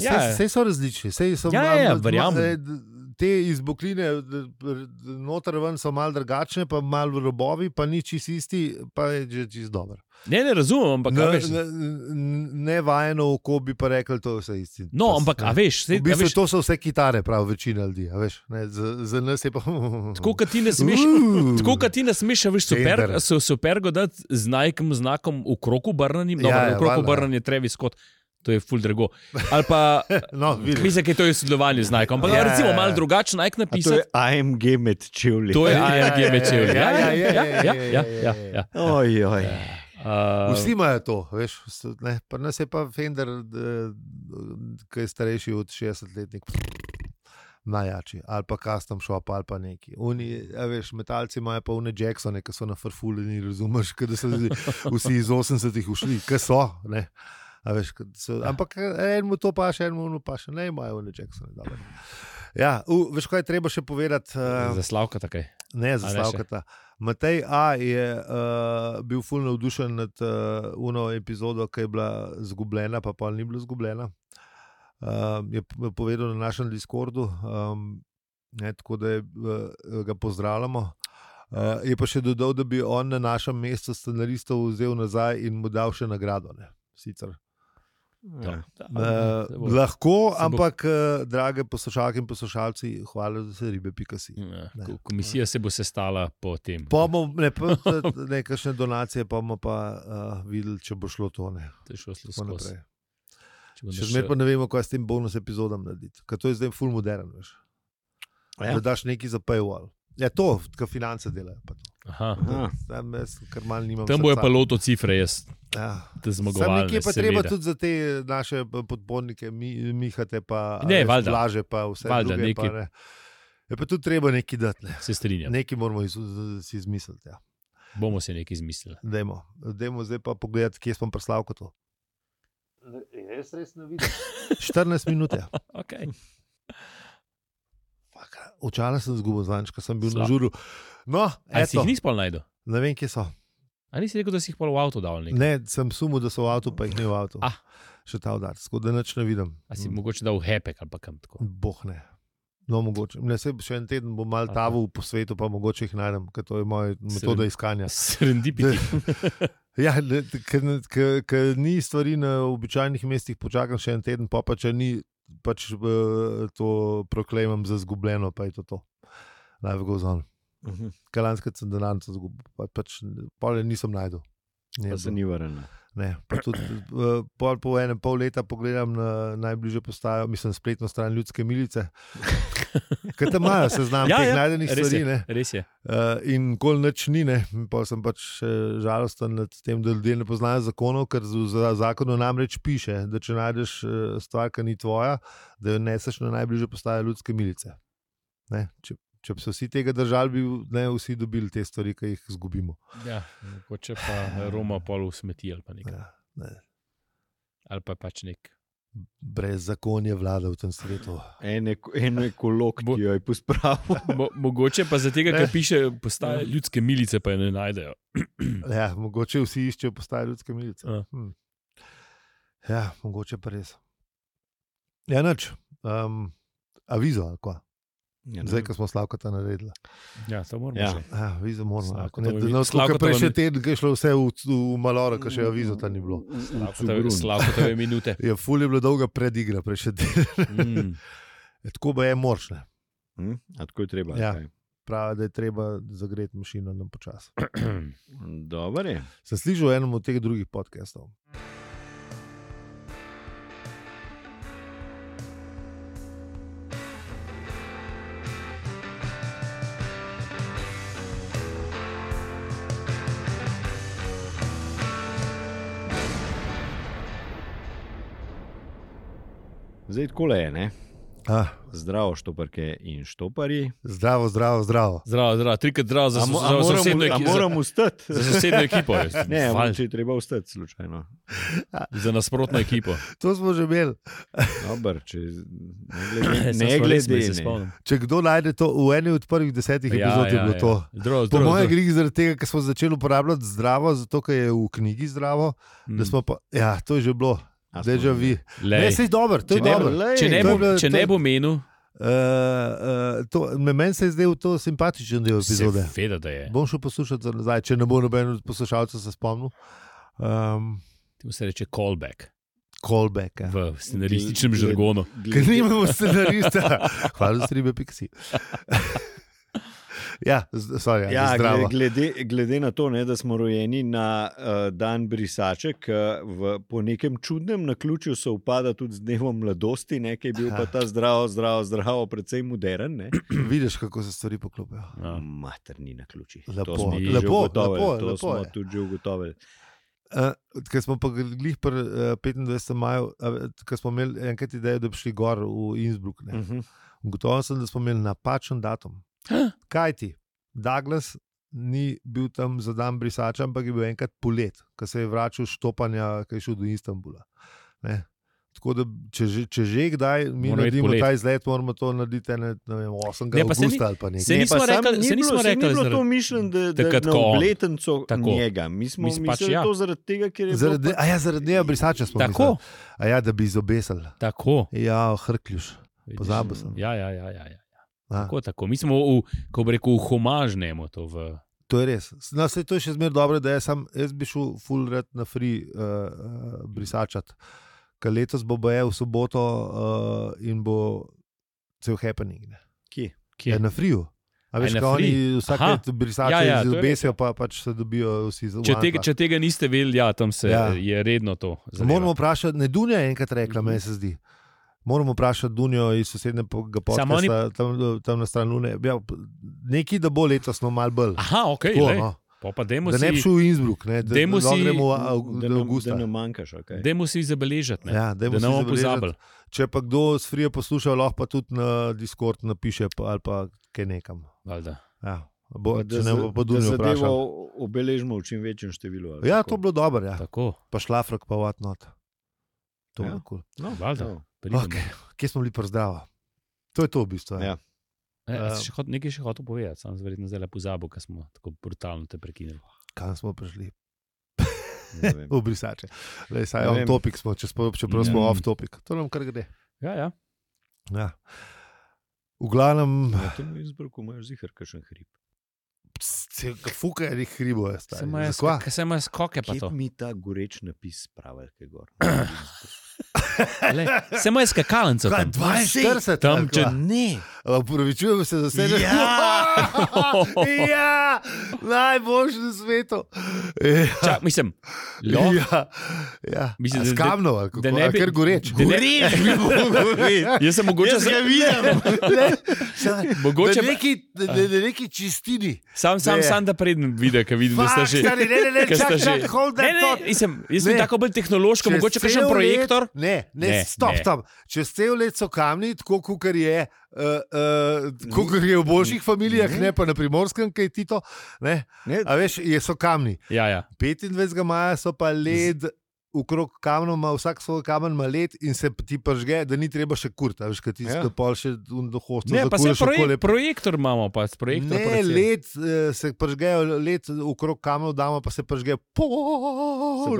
Speaker 1: Ja,
Speaker 2: ja.
Speaker 1: ja.
Speaker 2: sej so različni. Sej so
Speaker 1: Ja,
Speaker 2: malo-
Speaker 1: ja,
Speaker 2: malo-
Speaker 1: verjamem.
Speaker 2: eh, d- Te izbokline, d- pr- d- noter ven so malo drugačne, pa malo robovi, pa ni čist isti, pa je že čist dober.
Speaker 1: Ne, ne razumem, ampak a
Speaker 2: Ne,
Speaker 1: veš.
Speaker 2: ne, ne vajeno oko bi pa rekel, to je vse isti.
Speaker 1: No,
Speaker 2: Pa s-
Speaker 1: ampak
Speaker 2: ne.
Speaker 1: a veš, sej,
Speaker 2: V
Speaker 1: a
Speaker 2: bistvu,
Speaker 1: veš
Speaker 2: to so vse kitare, prav večina ljudi. a Veš, ne, za, za nas je pa.
Speaker 1: tako kot ti ne smeš.
Speaker 2: Uh.
Speaker 1: Tako kot ti ne smeš, a veš, super,
Speaker 2: Tender.
Speaker 1: so super ga dati z najkim znakom v kroku obrnjenim,
Speaker 2: Ja,
Speaker 1: dobro,
Speaker 2: ja,
Speaker 1: v kroku
Speaker 2: valjda, ja.
Speaker 1: obrnjen je Travis Scott, to je full drago. Ali pa,
Speaker 2: No, vidiš.
Speaker 1: mislim, da je to v sodelovanju z Nike, ampak
Speaker 2: Ja,
Speaker 1: ja,
Speaker 2: ja,
Speaker 1: recimo
Speaker 2: ja.
Speaker 1: malo drugačen Nike
Speaker 3: A to je
Speaker 1: napisati.
Speaker 3: AMG med čevlji.
Speaker 1: To je AMG
Speaker 2: ja,
Speaker 1: večer.
Speaker 2: ja,
Speaker 1: Ja, ja,
Speaker 2: ja,
Speaker 1: ja,
Speaker 2: ja,
Speaker 1: ja, ja,
Speaker 2: ja, ja,
Speaker 1: ja,
Speaker 2: ja.
Speaker 1: ja.
Speaker 3: Oj, oj.
Speaker 1: Uh,
Speaker 2: Vsi imajo to, veš, s- ne, pri nas je pa Fender, d- ki je starejši od 60-letnik. Najjači, ali pa custom shop, ali pa neki. Oni, a veš, metalci imajo pa une Jacksone, ki so na farfuljeni, razumeš, kot da so zdaj vsi iz 80-ih ušli, ki so. Ne. A Veš, ke so ampak e, enemu to pa še, enemu ono pa še ne imajo, ne Jacksone. dobro. Ja, u, veš, kaj je treba še povedati? eh,
Speaker 1: Zaslavka takaj. A ne
Speaker 2: Ne,
Speaker 1: še?
Speaker 2: zastavkata. Matej A je uh, bil fulno navdušen nad uh, uno epizodo, ki je bila zgubljena, pa pa ni bila zgubljena. Uh, je p- povedal na našem Discordu, um, ne, tako da je, uh, ga pozdravljamo. Uh, je pa še dodal, da bi on na našem mestu scenaristov vzel nazaj in mu dal še nagrado. Ne. Sicer
Speaker 1: Ja.
Speaker 2: Uh,
Speaker 1: Se bo-
Speaker 2: lahko,
Speaker 1: se bo-
Speaker 2: ampak, uh, drage poslušalke in poslušalci, hvala, da se ribe, pika si.
Speaker 1: Ja, ko- Komisija se bo sestala po tem.
Speaker 2: Pomo, ne, pa, ne, kakšne donacije pa bomo pa uh, videli, če bo šlo to. Ne,
Speaker 1: To je šlo
Speaker 2: tako
Speaker 1: skozi.
Speaker 2: naprej.
Speaker 1: Če bomo
Speaker 2: Še
Speaker 1: še-
Speaker 2: zmeraj pa ne vemo, kaj s tem bonus epizodam narediti. Ker to je zdaj full modern. Veš.
Speaker 3: Ja.
Speaker 2: Da daš neki za paywall. Ja, to, kar finance delajo. pa to.
Speaker 1: Aha.
Speaker 3: Ah,
Speaker 2: Tam, jaz, kar mal nimam
Speaker 1: Tam bojo
Speaker 2: srca.
Speaker 1: pa loto cifre, jaz
Speaker 2: Ja.
Speaker 1: te
Speaker 2: Sam
Speaker 1: zmagovalne.
Speaker 2: nekje pa
Speaker 1: seveda.
Speaker 2: treba tudi za te naše eh, podpornike, mi, mihate pa a
Speaker 1: Ne,
Speaker 2: veš,
Speaker 1: valjda.
Speaker 2: plaže, pa vse
Speaker 1: Valjda,
Speaker 2: druge, pa,
Speaker 1: nekaj. Ja.
Speaker 2: ne. Je pa tudi treba nekaj dati, ne.
Speaker 1: Se strinjam,
Speaker 2: nekaj moramo iz, si izmisliti. Ja.
Speaker 1: bomo se nekaj izmislili.
Speaker 2: Dajmo, dajmo zdaj pa pogledati, kje smo preslav kot to. Ja, Jaz res ne vidim. 14 minut. je.
Speaker 1: Okay.
Speaker 2: Fak, Očala sem zgubil zanj, ker sem bil
Speaker 1: Slab.
Speaker 2: na žuru. No,
Speaker 1: Ali si
Speaker 2: eto,
Speaker 1: jih nisi pol najdel?
Speaker 2: ne vem, kje so.
Speaker 1: Ali si rekel, da si jih pol v avto dal? Ne?
Speaker 2: Ne, sem sumil, da so v avtu, pa jih ni v avtu.
Speaker 1: Ah.
Speaker 2: Še ta udarec, tako da nič ne vidim.
Speaker 1: Ali si jih mogoče dal v hepek ali pa kam tako?
Speaker 2: Boh ne. No, mogoče. Ne, saj še en teden bom mal
Speaker 1: Aha.
Speaker 2: tavu po svetu, pa mogoče jih najdem, ker to je moja metoda iskanja.
Speaker 1: Serendipiti.
Speaker 2: Ja, ne, t- ker ne- ker- ker ni stvari na običajnih mestih, počakam še en teden, pa, pa če ni, pač eh, to proklemam za zgubljeno, pa je to to. Live goes on. Kalanska sem denarnica zgubil, pa, pač polje nisem najdel.
Speaker 3: Pa se ni vrnil.
Speaker 2: Ne, pa tudi, eh, pol, po enem pol leta pogledam na najbližjo postajo, mislim, spletno stran ljudske milice. Kaj tam imajo, seznam
Speaker 1: Ja,
Speaker 2: ja, teh
Speaker 1: ja,
Speaker 2: ja, najdenih
Speaker 1: Res
Speaker 2: stvari.
Speaker 1: je,
Speaker 2: ne.
Speaker 1: res je.
Speaker 2: Eh, In kol nič ni, ne. In Pol sem pač eh, žalosten nad tem, da ljudje ne poznajo zakonov, ker z- za zakonom namreč piše, da če najdeš eh, stvar, ki ni tvoja, da jo neseš na najbližjo postajo ljudske milice. Ne, če, če bi se vsi tega držali, bi ne vsi dobili te stvari, ki jih izgubimo.
Speaker 1: Ja, mogoče pa Roma pol v smeti ali pa nekaj.
Speaker 2: Ja, ne.
Speaker 1: Ali pa pač nek.
Speaker 2: Brez zakonja vlada v tem svetu.
Speaker 3: En, eko, en ekolog,
Speaker 1: Bo-
Speaker 3: ki jo je pospravil.
Speaker 1: Mo, mogoče pa zato, ker
Speaker 2: Ne.
Speaker 1: piše, postaje ljudske milice, pa je ne najdejo.
Speaker 2: Ja, mogoče vsi iščejo postaje ljudske milice.
Speaker 1: Ja.
Speaker 2: Hm. Ja, mogoče pa res. Ja, noč, um, avizo, ali kva.
Speaker 3: Ja, ne.
Speaker 2: Zdaj, ko smo slavkata naredili.
Speaker 1: Ja, to moramo.
Speaker 3: Ja.
Speaker 1: Ja.
Speaker 2: Ja, avizo moramo.
Speaker 1: Slavko, to
Speaker 2: ako Ne,
Speaker 1: bi-
Speaker 2: no,
Speaker 1: Slavko,
Speaker 2: Slavka
Speaker 1: to
Speaker 2: prej
Speaker 1: bi-
Speaker 2: še teden, ki je šlo vse v, v maloro, ki še avizo ta ni bilo.
Speaker 1: Mm,
Speaker 3: V- v- v cugrun.
Speaker 1: Slabo tebe minute.
Speaker 2: Ja, ful je bila dolga predigra, prej še teden.
Speaker 1: Mm.
Speaker 2: Tako pa je močne.
Speaker 3: Hm? A Tako je treba.
Speaker 2: Ja.
Speaker 3: Ja.
Speaker 2: Pravi, da je treba zagreti mašino nam počasi.
Speaker 3: Dobro je.
Speaker 2: Sem slišal v enem od teh drugih podkastov.
Speaker 3: Zdaj tako je, ne?
Speaker 2: Ah,
Speaker 3: Zdravo, štoparke in štoparji.
Speaker 2: zdravo, zdravo, zdravo.
Speaker 1: Zdravo, zdravo, trikrat zdravo za,
Speaker 3: A mo-
Speaker 1: so- za,
Speaker 3: a
Speaker 1: za
Speaker 3: moram-
Speaker 1: sosedno
Speaker 3: a
Speaker 1: ekipo. Za,
Speaker 3: Moram vstati.
Speaker 1: za sosedno ekipo. jaz-
Speaker 3: Ne,
Speaker 1: Fal,
Speaker 3: če je treba vstati, slučajno.
Speaker 1: za nasprotno ekipo.
Speaker 2: To smo že imeli.
Speaker 3: Dobar, če, ne glede,
Speaker 1: Saj
Speaker 3: ne
Speaker 1: smo res,
Speaker 3: glede
Speaker 1: se
Speaker 3: ne.
Speaker 1: spomnim.
Speaker 2: Če kdo najde to v eni od prvih desetih ja, epizod, ja, je bilo ja. to.
Speaker 1: Zdravo,
Speaker 2: Po
Speaker 1: zdravo,
Speaker 2: mojem
Speaker 1: zdravo.
Speaker 2: gre zaradi tega, ker smo začeli uporabljati zdravo, zato ker je v knjigi zdravo.
Speaker 1: Mm.
Speaker 2: Mm. Smo pa, ja, to je že bilo,
Speaker 3: A
Speaker 2: da je že
Speaker 3: smo-
Speaker 2: vi.
Speaker 1: Lej.
Speaker 2: Ne, sej dober, Eh, to je
Speaker 3: Če ne bo-
Speaker 2: dobro.
Speaker 3: lej,
Speaker 1: Če ne
Speaker 2: to je
Speaker 1: bo,
Speaker 2: bilo-
Speaker 1: če
Speaker 2: to-
Speaker 1: ne bo menil,
Speaker 2: Uh, uh, meni se je zdel to simpatičen del epizode.
Speaker 1: seveda, da je.
Speaker 2: Bom šel poslušati za nazaj, če ne bo noben od poslušalcev se spomnil. Um,
Speaker 1: Temu se reče callback
Speaker 2: callback. Ja.
Speaker 1: v scenarističnem žargonu.
Speaker 2: Ker
Speaker 3: Glede,
Speaker 2: nimamo scenarista, hvala za ribe, piksi. ja, z- sorry,
Speaker 3: ja,
Speaker 2: zdravo.
Speaker 3: glede- glede, glede na to, ne, da smo rojeni na uh, dan brisaček, uh, v, po nekem čudnem naključju se upada tudi z dnevom mladosti, ne, ki je bil
Speaker 1: Ja.
Speaker 3: pa ta zdravo, zdravo, zdravo, predvsem modern. Ne.
Speaker 2: Vidiš, kako se stvari poklopijo.
Speaker 1: Ja.
Speaker 3: Materni na ključi.
Speaker 2: Lepo,
Speaker 1: lepo,
Speaker 2: lepo,
Speaker 3: to
Speaker 2: lepo
Speaker 3: smo
Speaker 2: je.
Speaker 3: tudi že ugotovili.
Speaker 2: Uh, Ker smo pa glih pri uh, 25. maju, uh, ker smo imeli enkrat idejo, da bi šli gor v Innsbruck.
Speaker 3: Uh
Speaker 2: ne.
Speaker 3: -huh.
Speaker 2: Ugotovil sem, da smo imeli napačen datum. Kaj ti? Douglas ni bil tam za dan brisača, ampak je bil enkrat polet, ko se je vračal štopanja, ki je šel do Istanbula. Ne? Tako da, če že, če že kdaj
Speaker 1: Moramo
Speaker 2: mi
Speaker 1: iti
Speaker 2: naredimo
Speaker 1: polet.
Speaker 2: ta izlet, moramo to narediti ene, ne vem, 8.
Speaker 1: Ne, pa se ni-
Speaker 2: augusta ali pa nekaj.
Speaker 1: se nismo rekli- se nismo
Speaker 3: da je
Speaker 1: rekli
Speaker 3: bilo to
Speaker 1: zaradi-
Speaker 3: mišljeno, da, da
Speaker 1: Takrat,
Speaker 3: je
Speaker 1: ko on.
Speaker 3: obletenco
Speaker 1: Tako.
Speaker 3: njega. Mi smo
Speaker 1: Mislim,
Speaker 3: mislili,
Speaker 1: pač
Speaker 3: pač, ja.
Speaker 1: ja.
Speaker 3: to zaradi tega, ker je
Speaker 2: Zaradi,
Speaker 3: bilo, pa-
Speaker 2: a ja, zaradi dneva brisača smo
Speaker 1: Tako,
Speaker 2: A ja, da bi izobesali.
Speaker 1: tako.
Speaker 2: Ja, hrkljuš.
Speaker 1: Vidiš?
Speaker 2: Pozabil sem.
Speaker 1: Ja, ja, ja. ja, ja.
Speaker 2: A.
Speaker 1: Tako, tako. Mi smo, v, ko bi rekel, v homažnemu to. V...
Speaker 2: To je res. No, sej to je še zmeraj dobro, da jaz, sam, jaz bi šel full red na free uh, uh, brisačat. Ker letos bo boje v soboto uh, in bo cel happening. Ne?
Speaker 3: Kje?
Speaker 1: Kje?
Speaker 2: Ja, na friju.
Speaker 1: A
Speaker 2: A
Speaker 1: je
Speaker 2: veš,
Speaker 1: na
Speaker 2: kaj oni
Speaker 1: free? Aha.
Speaker 2: vsake brisače
Speaker 1: Ja, ja, to je
Speaker 2: ja, ja,
Speaker 1: res,
Speaker 2: izobesijo, pa pač se dobijo vsi za
Speaker 1: Če, tega, če tega niste vedeli, ja, tam se ja.
Speaker 2: Ja.
Speaker 1: je redno to. zadeva.
Speaker 2: Moramo vprašati, ne Dunja je enkrat rekla,
Speaker 1: Mhm.
Speaker 2: meni se zdi. Moramo vprašati Dunjo iz
Speaker 1: Samo
Speaker 2: sosednjega podkasta,
Speaker 1: oni-
Speaker 2: tam, tam na stranu. Ne, ja, nekaj, da bo letos no mal bolj.
Speaker 1: Aha, ok.
Speaker 2: Tako,
Speaker 1: Tako,
Speaker 2: no.
Speaker 1: no. Pa dajmo
Speaker 2: Da ne bi
Speaker 1: si,
Speaker 2: šel v Innsbruck, ne, da,
Speaker 1: Dajmo
Speaker 2: da lahko
Speaker 1: si-
Speaker 2: gremo v
Speaker 3: da
Speaker 2: av-
Speaker 3: nam-
Speaker 2: avgusta.
Speaker 3: Da ne manjkaš, okay.
Speaker 1: dajmo si zabeležiti, ne?
Speaker 2: Ja,
Speaker 1: da ne
Speaker 2: dajmo si
Speaker 1: bomo
Speaker 2: zabeležiti.
Speaker 1: pozabili.
Speaker 2: Če pa kdo s Frije posluša, lahko pa tudi na Discord napiše pa- ali pa kaj nekam.
Speaker 1: valjda.
Speaker 2: Ja, bo,
Speaker 3: da
Speaker 2: če ne
Speaker 3: za-
Speaker 2: bo pa
Speaker 3: da
Speaker 2: Dunjo vprašal.
Speaker 3: zadevo obeležimo v čim večjem številu. ali
Speaker 2: Ja,
Speaker 3: kako?
Speaker 2: to je bilo dobro, ja.
Speaker 1: Tako,
Speaker 2: pa šlafrok pa vatnot. To je
Speaker 3: Ja.
Speaker 2: bilo kul.
Speaker 3: no,
Speaker 1: valjda.
Speaker 3: no.
Speaker 1: pridemo.
Speaker 2: Okej. Kje smo bili prezdrava? To je to v bistvu. Ja.
Speaker 3: Ja.
Speaker 1: E, a si
Speaker 2: Eh,
Speaker 1: še hot, nekaj še hotel povedati, sam verjetno zdaj le pozabo, ker smo tako brutalno te prekinili.
Speaker 2: Kam smo prišli?
Speaker 3: Ne vem.
Speaker 2: V brisače. Lej, saj
Speaker 3: Ne
Speaker 2: on
Speaker 3: vem. Mm.
Speaker 2: topik smo, če smo, čeprav smo
Speaker 1: Ja.
Speaker 2: off topik. To nam kar gre.
Speaker 1: Ja, ja.
Speaker 2: Ja. V glavnem,
Speaker 3: Na tem izbruku imaš zihar, kakšen hrib.
Speaker 2: fuka je hribo, je
Speaker 1: Se
Speaker 2: stari.
Speaker 1: imajo
Speaker 2: Zakaj?
Speaker 1: skoke, se imajo skoke pa
Speaker 3: Kje
Speaker 1: to.
Speaker 3: mi ta goreč napis pravi, kaj gor?
Speaker 1: Lej, se imajo skakalnico
Speaker 2: Kaj,
Speaker 1: tam.
Speaker 2: 42
Speaker 1: Tam,
Speaker 2: ali
Speaker 1: če
Speaker 2: kva?
Speaker 1: ne.
Speaker 2: Upravičujem se za vse, že
Speaker 3: Ja!
Speaker 2: ja, najboljši na svetu. Ja,
Speaker 1: Čak, mislim, lo,
Speaker 2: ja, ja.
Speaker 1: Mislim,
Speaker 2: Mislim,
Speaker 1: da-
Speaker 2: s
Speaker 1: da-
Speaker 2: kamnom,
Speaker 1: da
Speaker 2: ali kako,
Speaker 1: ne
Speaker 2: ne
Speaker 1: bi-
Speaker 2: bi, ker goreč.
Speaker 1: da ne- jaz sem mogoče,
Speaker 3: Jaz
Speaker 1: za,
Speaker 3: ga vidim.
Speaker 2: Ne, čakaj,
Speaker 1: mogoče
Speaker 2: da neki, da, da, da neki čistini.
Speaker 1: sam, sam,
Speaker 2: Ne.
Speaker 1: sam da pridem videti, ker vidim, da ste
Speaker 2: Fak,
Speaker 1: že.
Speaker 2: stari, ne, ne, ne,
Speaker 1: ker
Speaker 2: čak,
Speaker 1: sta že-
Speaker 2: čak,
Speaker 1: Ne,
Speaker 2: hold that
Speaker 1: ne,
Speaker 2: thought.
Speaker 1: mislim, jaz sem
Speaker 2: Ne.
Speaker 1: tako bolj tehnološko,
Speaker 2: Čez
Speaker 1: mogoče kakšen
Speaker 2: cel
Speaker 1: projektor.
Speaker 2: Let, ne, ne,
Speaker 1: Ne,
Speaker 2: ne, stop
Speaker 1: ne.
Speaker 2: ne. tam. Čez cel let so kamni, tako kot je, eh, uh, uh, je v božjih familijah,
Speaker 3: ne.
Speaker 2: ne. ne pa na primorskem, kaj ti to. Ne, a veš, je, so kamni.
Speaker 1: Ja, ja.
Speaker 2: 25. maja so pa led. Okrog kamna ima vsak svoj kamen, ima led in se ti pržge, da ni treba še kurta, veš, kaj ti
Speaker 3: Ja.
Speaker 2: ja. pol še dohodno.
Speaker 1: Ne, pa se proje, projektor imamo, pa s projektor.
Speaker 2: Ne,
Speaker 1: projeciramo.
Speaker 2: led eh, se pržgejo, led okrog kamnov damo, pa se pržgejo. Po,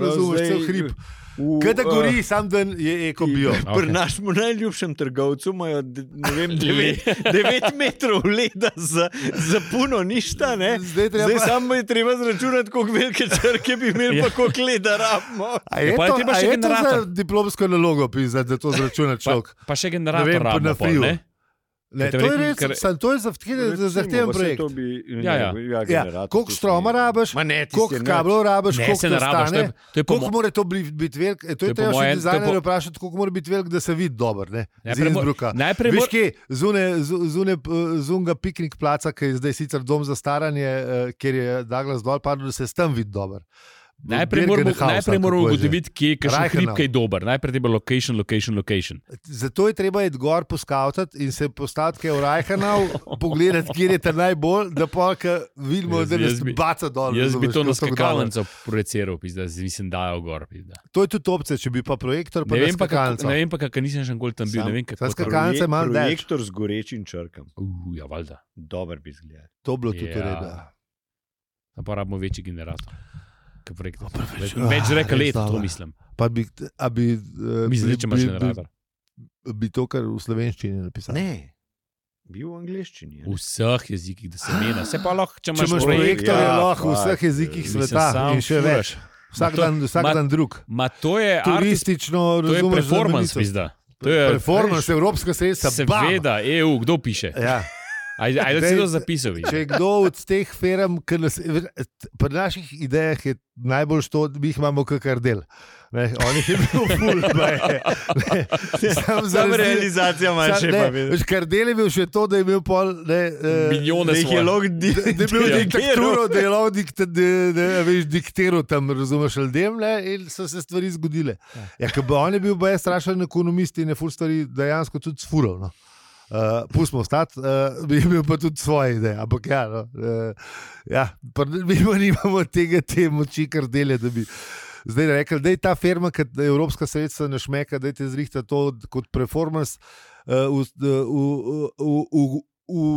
Speaker 2: razumeš, cel hrib. Kaj da gori, sam dan je eko bio.
Speaker 1: Okej.
Speaker 3: eh, Pri našem najljubšem trgovcu imajo d- ne vem,
Speaker 1: Le-
Speaker 3: 9 metrov leda za, za puno ništa. Ne?
Speaker 2: Zdaj treba
Speaker 3: Zdaj
Speaker 2: pa-
Speaker 3: samo je treba zračunati, koliko velike črke bi imeli,
Speaker 1: Ja.
Speaker 3: pa koliko leda rabimo.
Speaker 2: A
Speaker 1: Ja,
Speaker 2: je
Speaker 1: pa je
Speaker 2: to,
Speaker 1: treba
Speaker 2: a
Speaker 1: še
Speaker 2: je to
Speaker 1: generator.
Speaker 2: za diplomsko nalogo, pisati, da to zračuna človek?
Speaker 1: Pa, pa še
Speaker 2: Ne
Speaker 1: generator
Speaker 2: vem, pa
Speaker 1: rabimo
Speaker 2: na
Speaker 1: pol,
Speaker 2: friju.
Speaker 1: ne?
Speaker 2: Ne,
Speaker 1: Ker te
Speaker 2: to je
Speaker 1: verjetno,
Speaker 2: res,
Speaker 1: ker-
Speaker 2: sam to je zahteven,
Speaker 3: Recimo,
Speaker 2: zahteven
Speaker 3: pa saj
Speaker 2: projekt.
Speaker 3: to bi- ne,
Speaker 1: Ja, ja.
Speaker 3: ja, generator
Speaker 2: koliko
Speaker 3: tudi
Speaker 2: štroma
Speaker 3: ni-
Speaker 2: rabiš,
Speaker 3: Ma ne, tisti
Speaker 2: Koliko
Speaker 3: je
Speaker 2: kablov rabiš,
Speaker 1: Ne,
Speaker 2: koliko
Speaker 1: se ne
Speaker 2: to
Speaker 1: rabiš. To je,
Speaker 2: stane?
Speaker 1: to je po
Speaker 2: Koliko
Speaker 1: mojem.
Speaker 2: mora to bli- biti velik? E, to
Speaker 1: to je
Speaker 2: je
Speaker 1: po
Speaker 2: treba
Speaker 1: moje- to
Speaker 2: še
Speaker 1: je
Speaker 2: dizajnerje
Speaker 1: po-
Speaker 2: vprašati, koliko mora biti velik, da se vidi dober. Ne? Z
Speaker 1: Najprej mor-
Speaker 2: Innsbrucka.
Speaker 1: najprej
Speaker 2: Veš
Speaker 1: mor-
Speaker 2: kje, zune, zu- zune, eh, zunga piknik placa, ki je zdaj sicer dom za staranje, eh, kjer je Douglas dol padel, da se s tam vidi dober.
Speaker 1: Najprej moramo,
Speaker 2: Bergenhaus,
Speaker 1: najprej
Speaker 2: ali
Speaker 1: moramo
Speaker 2: kako je že.
Speaker 1: ugotoviti, kje je kakšen
Speaker 2: Reichenau.
Speaker 1: hrib, kaj je dober. Najprej treba location, location, location.
Speaker 2: Zato je treba iti gor poskavati in se postaviti v Rajhanov, pogledati, kje je ta najbolj, da pa vidimo,
Speaker 1: Jaz-
Speaker 2: da
Speaker 1: jaz
Speaker 2: nas
Speaker 1: bi-
Speaker 2: baca dol.
Speaker 1: Jaz bi to
Speaker 2: razumeš, ker
Speaker 1: na
Speaker 2: so dobro.
Speaker 1: skakalnico projiciral, da nisem dajal gor. Pizda.
Speaker 2: To je tudi opcija, če bi pa projektor, pa
Speaker 1: Ne vem pa, kako,
Speaker 2: skakalnico.
Speaker 1: ne vem pa, kako nisem še nikoli tam bil.
Speaker 3: Sam-
Speaker 1: Ne vem, kako
Speaker 2: Sam
Speaker 1: to-
Speaker 2: skakal- Kalnica je malo
Speaker 3: Proje-
Speaker 2: daleč.
Speaker 3: Projektor z gorečim črkam.
Speaker 1: Uh, ja, valjda.
Speaker 3: Dober bi zgledal.
Speaker 2: To bilo tudi
Speaker 1: Ja.
Speaker 2: v redu.
Speaker 1: Tam pa rabimo večji generator. Ke projektor. Več,
Speaker 2: ah,
Speaker 1: več reka
Speaker 2: res
Speaker 1: let, to
Speaker 2: dobro.
Speaker 1: mislim.
Speaker 2: Pa bi, a bi, eh,
Speaker 1: Mislim, da če imaš
Speaker 2: bi-
Speaker 1: generator.
Speaker 2: bi, bi to, kar v slovenščini napisal.
Speaker 3: Ne, bil v angleščini.
Speaker 1: V
Speaker 3: a ne?
Speaker 1: vseh jezikih, da se mena. Se pa lahko, če
Speaker 2: Ah. Če
Speaker 1: imaš
Speaker 2: imaš
Speaker 1: projekt,
Speaker 2: projektor, je
Speaker 3: ja,
Speaker 2: lahko v
Speaker 3: fuck,
Speaker 2: vseh jezikih
Speaker 3: mislim,
Speaker 2: sveta
Speaker 1: samo
Speaker 2: in še
Speaker 1: furaš.
Speaker 2: več. Vsak,
Speaker 1: Ma to-
Speaker 2: dan, vsak
Speaker 1: ma-
Speaker 2: dan drug.
Speaker 1: Ma to je artist,
Speaker 2: Turistično,
Speaker 1: to je
Speaker 2: razumeš,
Speaker 1: performance,
Speaker 2: znamenico.
Speaker 1: pizda. To je
Speaker 2: Performans, evropska sredstva. bam!
Speaker 1: Seveda, EU, kdo piše?
Speaker 2: Ja.
Speaker 1: Ajde, ajde da si
Speaker 2: Dej-
Speaker 1: to zapisal. vidiš.
Speaker 2: Če je kdo od teh firm, ki nas, veš, pri naših idejah je najbolj to, da mi jih imamo kakor del. Ne, onih je bilo ful, ne, ne, sam
Speaker 3: Samo realizacija
Speaker 2: Sam-
Speaker 3: manjše
Speaker 2: ne,
Speaker 3: pa bi.
Speaker 2: veš, Kar del je bil še to, da je imel pol. Ne, eh,
Speaker 1: Milijone
Speaker 3: Da jih je
Speaker 1: svoje.
Speaker 3: lahko di-
Speaker 2: Da da je bil
Speaker 1: Ja.
Speaker 2: diktator, da je lahko dikta- da- da, veš, diktiral tam, razumeš, ljudem, ne, in so se stvari zgodile. Ja, ker bi on je bil, baj, strašen ekonomist in je ful stvari dejansko tudi sfural. No. Uh, Pustmo ostati, uh, bi imel pa tudi svoje ideje. Ampak ja, no, uh, ja pri- mi pa nimamo tega, te moči, kar dele, da bi. Zdaj rekel, da je ta firma, ki evropska sredstva ne šmeka, da je zrihta to kot performance eh, v, v, v, v,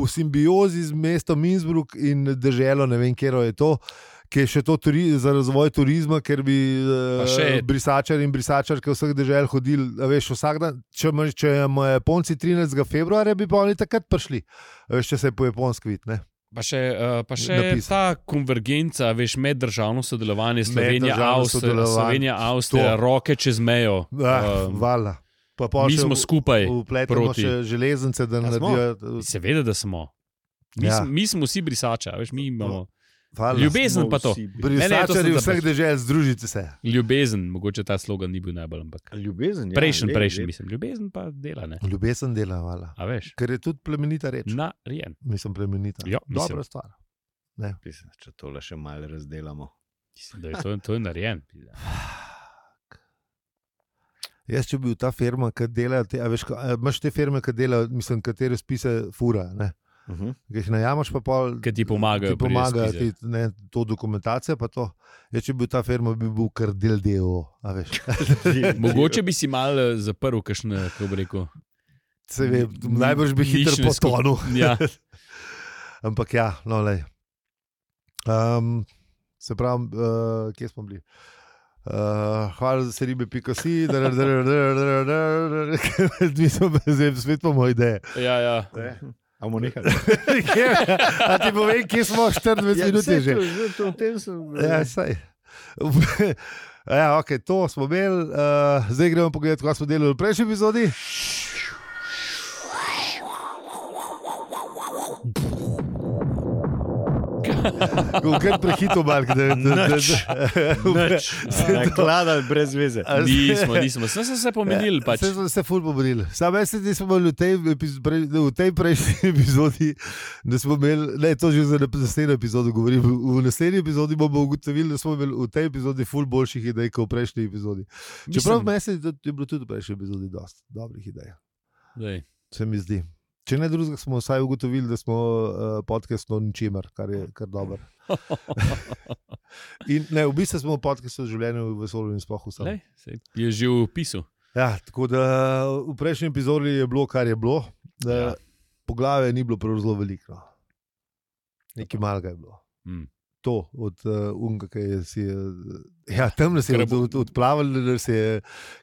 Speaker 2: v simbiozi z mestom Innsbruck in državo, ne vem, kje je to. Ki je še to turi, za razvoj turizma, ker bi
Speaker 1: Pa
Speaker 2: eh,
Speaker 1: še-
Speaker 2: brisačar in brisačarke vseh držav hodili, a veš, vsak dan. Če ima- če imajo Japonci 13. februarja, bi pa oni takrat prišli, A veš, če se je po japonski vid. Ne?
Speaker 1: Pa še, eh, pa še
Speaker 2: Napis.
Speaker 1: ta konvergenca, veš, meddržavno sodelovanje, Slovenija,
Speaker 2: Meddržavno
Speaker 1: Avstrija,
Speaker 2: sodelovanje.
Speaker 1: Slovenija, Avstrija
Speaker 2: To.
Speaker 1: roke čez mejo.
Speaker 2: Ah,
Speaker 1: Um,
Speaker 2: vala. Pa pol
Speaker 1: Mi
Speaker 2: še
Speaker 1: smo
Speaker 2: v-
Speaker 1: skupaj.
Speaker 2: Vpletemo
Speaker 1: proti.
Speaker 2: še železnice, da
Speaker 3: Ja, smo.
Speaker 2: naredijo. eh,
Speaker 1: Seveda, da smo. Mi,
Speaker 2: Ja. No.
Speaker 1: ja. mi smo vsi brisača, veš, mi imamo
Speaker 2: Hvala.
Speaker 1: Ljube- Ljubezen pa to. Ne, ne, to sem
Speaker 2: Brisačari
Speaker 1: zabrž.
Speaker 2: vseh držav, združite se.
Speaker 1: ljubezen, mogoče ta slogan ni bil najbolj, ampak
Speaker 3: Ljubezen. Ja,
Speaker 1: prejšen,
Speaker 3: lep,
Speaker 1: prejšen,
Speaker 3: lep.
Speaker 1: mislim, ljubezen pa dela, ne.
Speaker 2: Ljubezen dela, hvala.
Speaker 1: A veš,
Speaker 2: Ker je tudi plemenita reč.
Speaker 1: na rejen.
Speaker 2: Mislim, plemenita.
Speaker 1: No. Ja, mislim.
Speaker 2: Dobra stvar.
Speaker 3: Mislim, Če tole še malo razdelamo.
Speaker 1: Mislim, da je To, to je narejen.
Speaker 2: Jaz, če bi bil ta firma, ki dela, te, a veš, ko- a imaš te firme, ki delajo, mislim, katere spise fura, ne?
Speaker 3: Uh
Speaker 2: Ki jih najamaš, pa pol.
Speaker 1: Ki ti pomagajo
Speaker 2: Ti
Speaker 1: pri
Speaker 2: pomagajo, ti,
Speaker 1: razpisu.
Speaker 2: ne, to dokumentacija, pa to. Jaz, če bi bil ta firma, bi bil kar del DO, a veš.
Speaker 3: -huh.
Speaker 1: Mogoče bi si mal eh, zaprl, kakšne, kako bi rekel.
Speaker 2: Se ve,
Speaker 1: Ni-
Speaker 2: najbrž bi
Speaker 1: nič
Speaker 2: hitro
Speaker 1: ne skup-
Speaker 2: potonil.
Speaker 1: Ja.
Speaker 2: Ampak ja, no, le. Um, se pravi, uh, kje smo bili? Uh, hvala za se ribe, pika si, da nisem zdaj spet po moji ideji.
Speaker 1: Ja, ja.
Speaker 3: Amo nekaj.
Speaker 2: Kje- A ti povem, kje smo 24 minut je že.
Speaker 3: Ja, To, to, sem,
Speaker 2: Ja, saj. Ja, ok, to smo imeli, uh, zdaj gremo pogledati, kaj smo delali v prejšnji epizodi. Kaj prehitro, Mark, da je
Speaker 3: Nakladal brez veze.
Speaker 1: Nismo, nismo, sem se pomenili. Pač.
Speaker 2: Vse smo se ful pomenili. Sam jaz se nisem imel v tej, epiz- pre- v tej prejšnji epizodi, da smo imeli, ne, to že za nap- naslednjo epizodo govorim. V v naslednji epizodi bomo ugotovili, da smo imeli v tej epizodi ful boljših idej kot v prejšnji epizodi. Čeprav
Speaker 1: Mislim-
Speaker 2: meni se da je bilo tudi v prejšnji epizodi dosti dobrih idej,
Speaker 1: Daj.
Speaker 2: se mi zdi. Če ne drugega, smo vsaj ugotovili, da smo uh, podcast o ničemer, kar je kar dobro. In ne, v bistvu smo podcast o življenju v vesolju in sploh vsem.
Speaker 1: Lej, saj Je že v pisu.
Speaker 2: Ja, tako da v prejšnji epizodi je bilo, kar je bilo.
Speaker 1: Ja.
Speaker 2: Ja. Poglave ni bilo prav zelo veliko. no. Nekaj malega je bilo.
Speaker 1: Mm.
Speaker 2: To od uh, unga, ki je si je. Ja, tam se je od,
Speaker 1: Grebo-
Speaker 2: od, odplavil, da se je,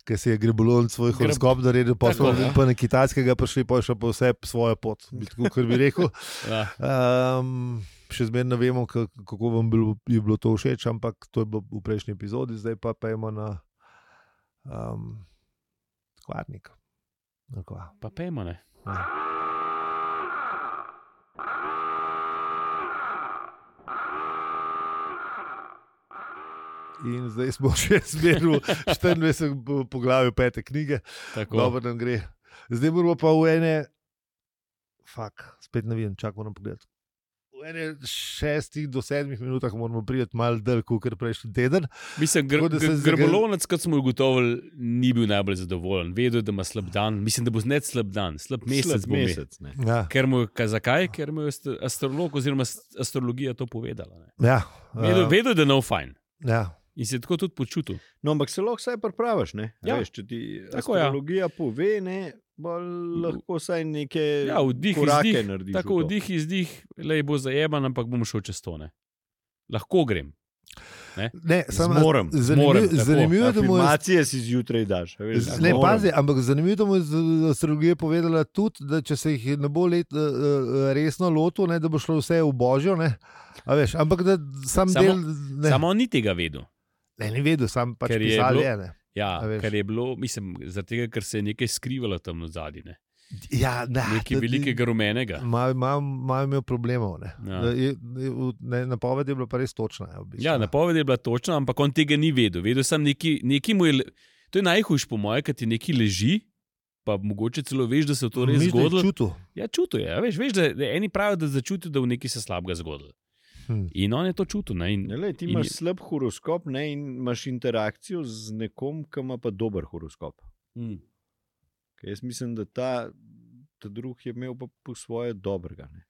Speaker 2: ki si je grebolon svoj
Speaker 1: Greb-
Speaker 2: horoskop naredil, pa
Speaker 1: Tako,
Speaker 2: smo
Speaker 1: ja.
Speaker 2: pa na kitajskega prišli, pa je šel pa vse po svojo pot. bi Tako kot bi rekel.
Speaker 1: Ja.
Speaker 2: Um, še zmerno ne vemo, ka- kako vam bilo, je bilo to všeč, ampak to je bilo v prejšnji epizodi, zdaj pa pojmo na um, skvarnik. Ali kva?
Speaker 1: Pa pejmo, ne.
Speaker 2: In zdaj smo še zmerno 24 po- poglavju pete knjige,
Speaker 1: Tako.
Speaker 2: dobro nam gre. Zdaj moramo pa v ene, fak, spet ne vem, čakamo na pogled. V ene šestih do sedmih minutah moramo priti malo dlje, kot prejšnji teden.
Speaker 1: Mislim, gr
Speaker 2: Tako da se
Speaker 1: gr
Speaker 2: zagal-
Speaker 1: grbolovec, kot smo ugotovili, ni bil najbolj zadovoljen. Vedel je, da ima slab dan, mislim, da bo ne slab dan, slab mesec. bo imel.
Speaker 3: Ne.
Speaker 2: Ja,
Speaker 1: Ker mu je, ka- zakaj? Ker mu je ast- astrolog oziroma ast- astrologija to povedala. ne.
Speaker 2: ja,
Speaker 1: Vedel,
Speaker 2: eh,
Speaker 1: vedel da je no fajn
Speaker 2: ja.
Speaker 1: in se je tako tudi počutil.
Speaker 3: No, ampak se lahko vsaj pripraviš. Ne?
Speaker 1: Ja.
Speaker 3: Ja. Veš, če ti
Speaker 1: Tako, ja.
Speaker 3: astrologija ja. pove, ne, bolj lahko vsaj neke
Speaker 2: E,
Speaker 1: Ja, vdih,
Speaker 3: korake
Speaker 1: izdih,
Speaker 3: narediš.
Speaker 1: Tako vdih, izdih, le bo zajeman, ampak bom šel čez tone. Lahko grem.
Speaker 2: Ne, samo
Speaker 3: Zmorem,
Speaker 1: zmorem,
Speaker 2: Zanimivo
Speaker 1: tako.
Speaker 2: zanimivo je, da mu je
Speaker 3: Informacije si zjutraj daš. a Veš,
Speaker 2: Z- Ne, pazi, ampak zanimivo je, da mu je z- z- astrologija povedala tudi, da če se jih ne bo let, eh, eh, resno lotil, ne, da bo šlo vse v božjo. Ne, A veš, ampak da sam
Speaker 1: Samo-
Speaker 2: samo, del ne,
Speaker 1: Ne. Samo on ni tega vedel.
Speaker 2: ne, ni vedel, sam pač
Speaker 1: Ker je
Speaker 2: pisal
Speaker 1: bilo-
Speaker 2: je. Ne.
Speaker 1: Ja,
Speaker 2: A veš.
Speaker 1: ker je bilo, mislim, zaradi tega, ker se je nekaj skrivalo tam zadaj, ne?
Speaker 2: Ja, ne,
Speaker 1: nekaj velikega rumenega.
Speaker 2: Imajo imel problemov. Ne.
Speaker 1: Ja.
Speaker 2: Mm, Da Je, je, v- ne, napoved je bila pa res točna. je, V bistvu.
Speaker 1: Ja, napoved je bila točna, ampak on tega ni vedel. Vedel sem neki, neki mu je. le- To je najhujš, po mojem, ker ti nekaj leži, pa mogoče celo veš, da se je to res
Speaker 2: Misliš, da je
Speaker 1: zgodilo.
Speaker 2: Čutil.
Speaker 1: Ja, čutil je. a Veš, veš da, da eni pravijo, da začutijo, da v neki se slabega zgodilo.
Speaker 2: Hm. Ja.
Speaker 1: In on je to čutil. Ne? In,
Speaker 3: Ne, lej, ti
Speaker 1: In
Speaker 3: imaš
Speaker 1: je-
Speaker 3: slab horoskop ne, in imaš interakcijo z nekom, ki ima pa dober horoskop.
Speaker 1: mm.
Speaker 3: Ker jaz mislim, da ta, ta drug je imel pa po svoje dobrega. Ne.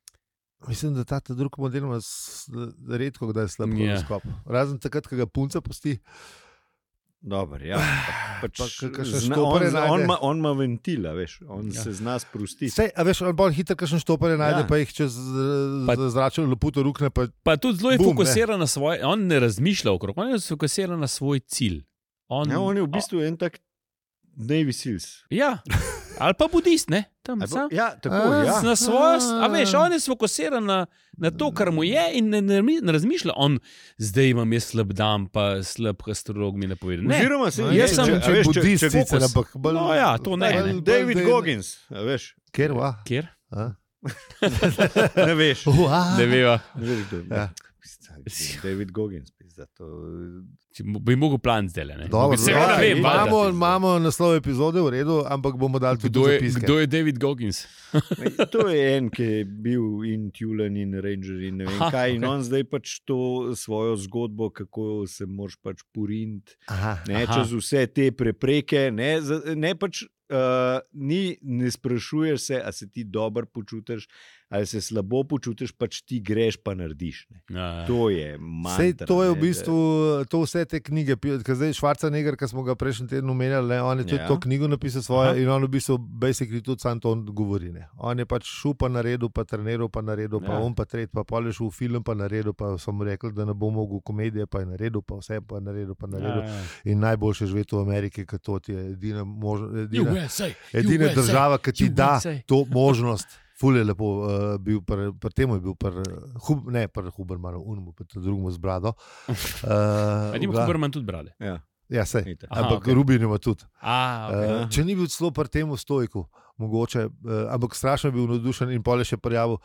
Speaker 2: Mislim, da ta ta drug model ima s- redko kdaj slab
Speaker 1: Ja.
Speaker 2: horoskop. Razen takrat, ko ga punca pusti.
Speaker 3: Dobar, ja. Pač,
Speaker 2: Ah, Pa k- kakšen
Speaker 3: zna-
Speaker 2: štoper
Speaker 3: on
Speaker 2: je
Speaker 3: zna-
Speaker 2: najde.
Speaker 3: on ima- On ima ventila, veš, on
Speaker 1: Ja.
Speaker 3: ja. se zna sprostiti.
Speaker 2: Sej, a veš, on bolj hitro, kakšen štoparje najde, ja.
Speaker 3: Ja.
Speaker 2: pa jih čez
Speaker 1: Pa-
Speaker 2: pa... zračno lepoto rukne. Pa...
Speaker 1: Pa tudi zelo je
Speaker 2: Bum, ne.
Speaker 1: fokusiran na svoj, on ne razmišlja okrog, on je fokusiran na svoj cilj. On,
Speaker 3: Ja, on je v bistvu en tak Navy Seals.
Speaker 1: Ja, ali pa budist, ne, tam
Speaker 3: Ali
Speaker 1: sam.
Speaker 3: pa- Ja, tako
Speaker 2: A,
Speaker 3: je. Ja.
Speaker 2: s-
Speaker 1: Na svojo, a
Speaker 2: Aha.
Speaker 1: veš, on je fokusiran na, na to, kar mu je, in ne, ne, ne razmišlja, on zdaj imam jaz slab dan, pa slab astrolog mi napoveduje. Ne,
Speaker 3: Oziroma, se,
Speaker 1: jaz sem-
Speaker 2: če, če, če budisti, sicer, ampak bolj.
Speaker 1: No ja, to ne,
Speaker 2: bolj-
Speaker 1: ne.
Speaker 2: bolj-
Speaker 3: David
Speaker 2: bolj-
Speaker 3: Goggins, a veš,
Speaker 2: Ker va?
Speaker 1: kjer?
Speaker 2: a?
Speaker 3: ne veš.
Speaker 2: Ua.
Speaker 1: Ne veva.
Speaker 3: Ne veš, kdo je.
Speaker 2: Ja.
Speaker 3: Pizda, David Goggins, pizda, to...
Speaker 1: Če mo- bi mogel plan zdaj le.
Speaker 2: Dobro,
Speaker 1: se ja,
Speaker 2: dobro.
Speaker 1: vem, valjda.
Speaker 2: imamo, imamo naslov epizode, v redu, ampak bomo dali tudi
Speaker 1: Kdo je,
Speaker 2: zapiske.
Speaker 1: kdo je David Goggins?
Speaker 3: to je en, ki je bil in Tulen in Ranger in ne vem
Speaker 1: Aha,
Speaker 3: kaj. In
Speaker 1: okej.
Speaker 3: on zdaj pač to svojo zgodbo, kako se moraš pač purint
Speaker 2: Aha.
Speaker 3: ne,
Speaker 1: Aha.
Speaker 3: čez vse te prepreke. Ne, eh, za- ne pač uh, ni, ne sprašuješ se, a se ti dobro počutiš, ali se slabo počutiš, pač ti greš, pa narediš. Ne.
Speaker 1: Ja,
Speaker 3: To
Speaker 2: Sej,
Speaker 3: je mantra.
Speaker 2: to je
Speaker 3: ne,
Speaker 2: v bistvu, to vse te knjige, ki zdaj Švarca Neger, ki smo ga prejšnji teden omenjali, ne, on je tudi
Speaker 3: Ja.
Speaker 2: ja. to knjigo napisal svojo
Speaker 3: Aha.
Speaker 2: Aha. in on v bistvu basically tudi sam to govori. Ne. On je pač šel pa na redu, pa treniral, pa na redu, pa
Speaker 3: Ja.
Speaker 2: ja. on pa tret, pa polje šel v film, pa na redu, pa sem mu rekel, da ne bo mogel komedije, pa je na redu, pa vse pa na redu, pa na redu. Ja.
Speaker 1: ja.
Speaker 2: In najboljše je živeti v Ameriki, ker to ti je edina, možno, edina,
Speaker 1: USA,
Speaker 2: edina
Speaker 1: USA.
Speaker 2: država, ki ti da
Speaker 1: USA.
Speaker 2: to možnost. Ful je lepo, uh, bil pri pri tem je bil, pri, eh, hub, ne, pri Hubermanu, unmu, pa drugemu zbrado. Uh,
Speaker 1: A nima Huberman tudi brade?
Speaker 2: Ja, sej.
Speaker 3: Itak.
Speaker 1: Aha,
Speaker 2: Ampak
Speaker 1: okej.
Speaker 2: okay. Rubin ima tudi.
Speaker 1: A, okay.
Speaker 2: Okay. Uh, če ni bil celo pri tem stojku, mogoče, uh, ampak strašno je bil navdušen in pole še prijavil.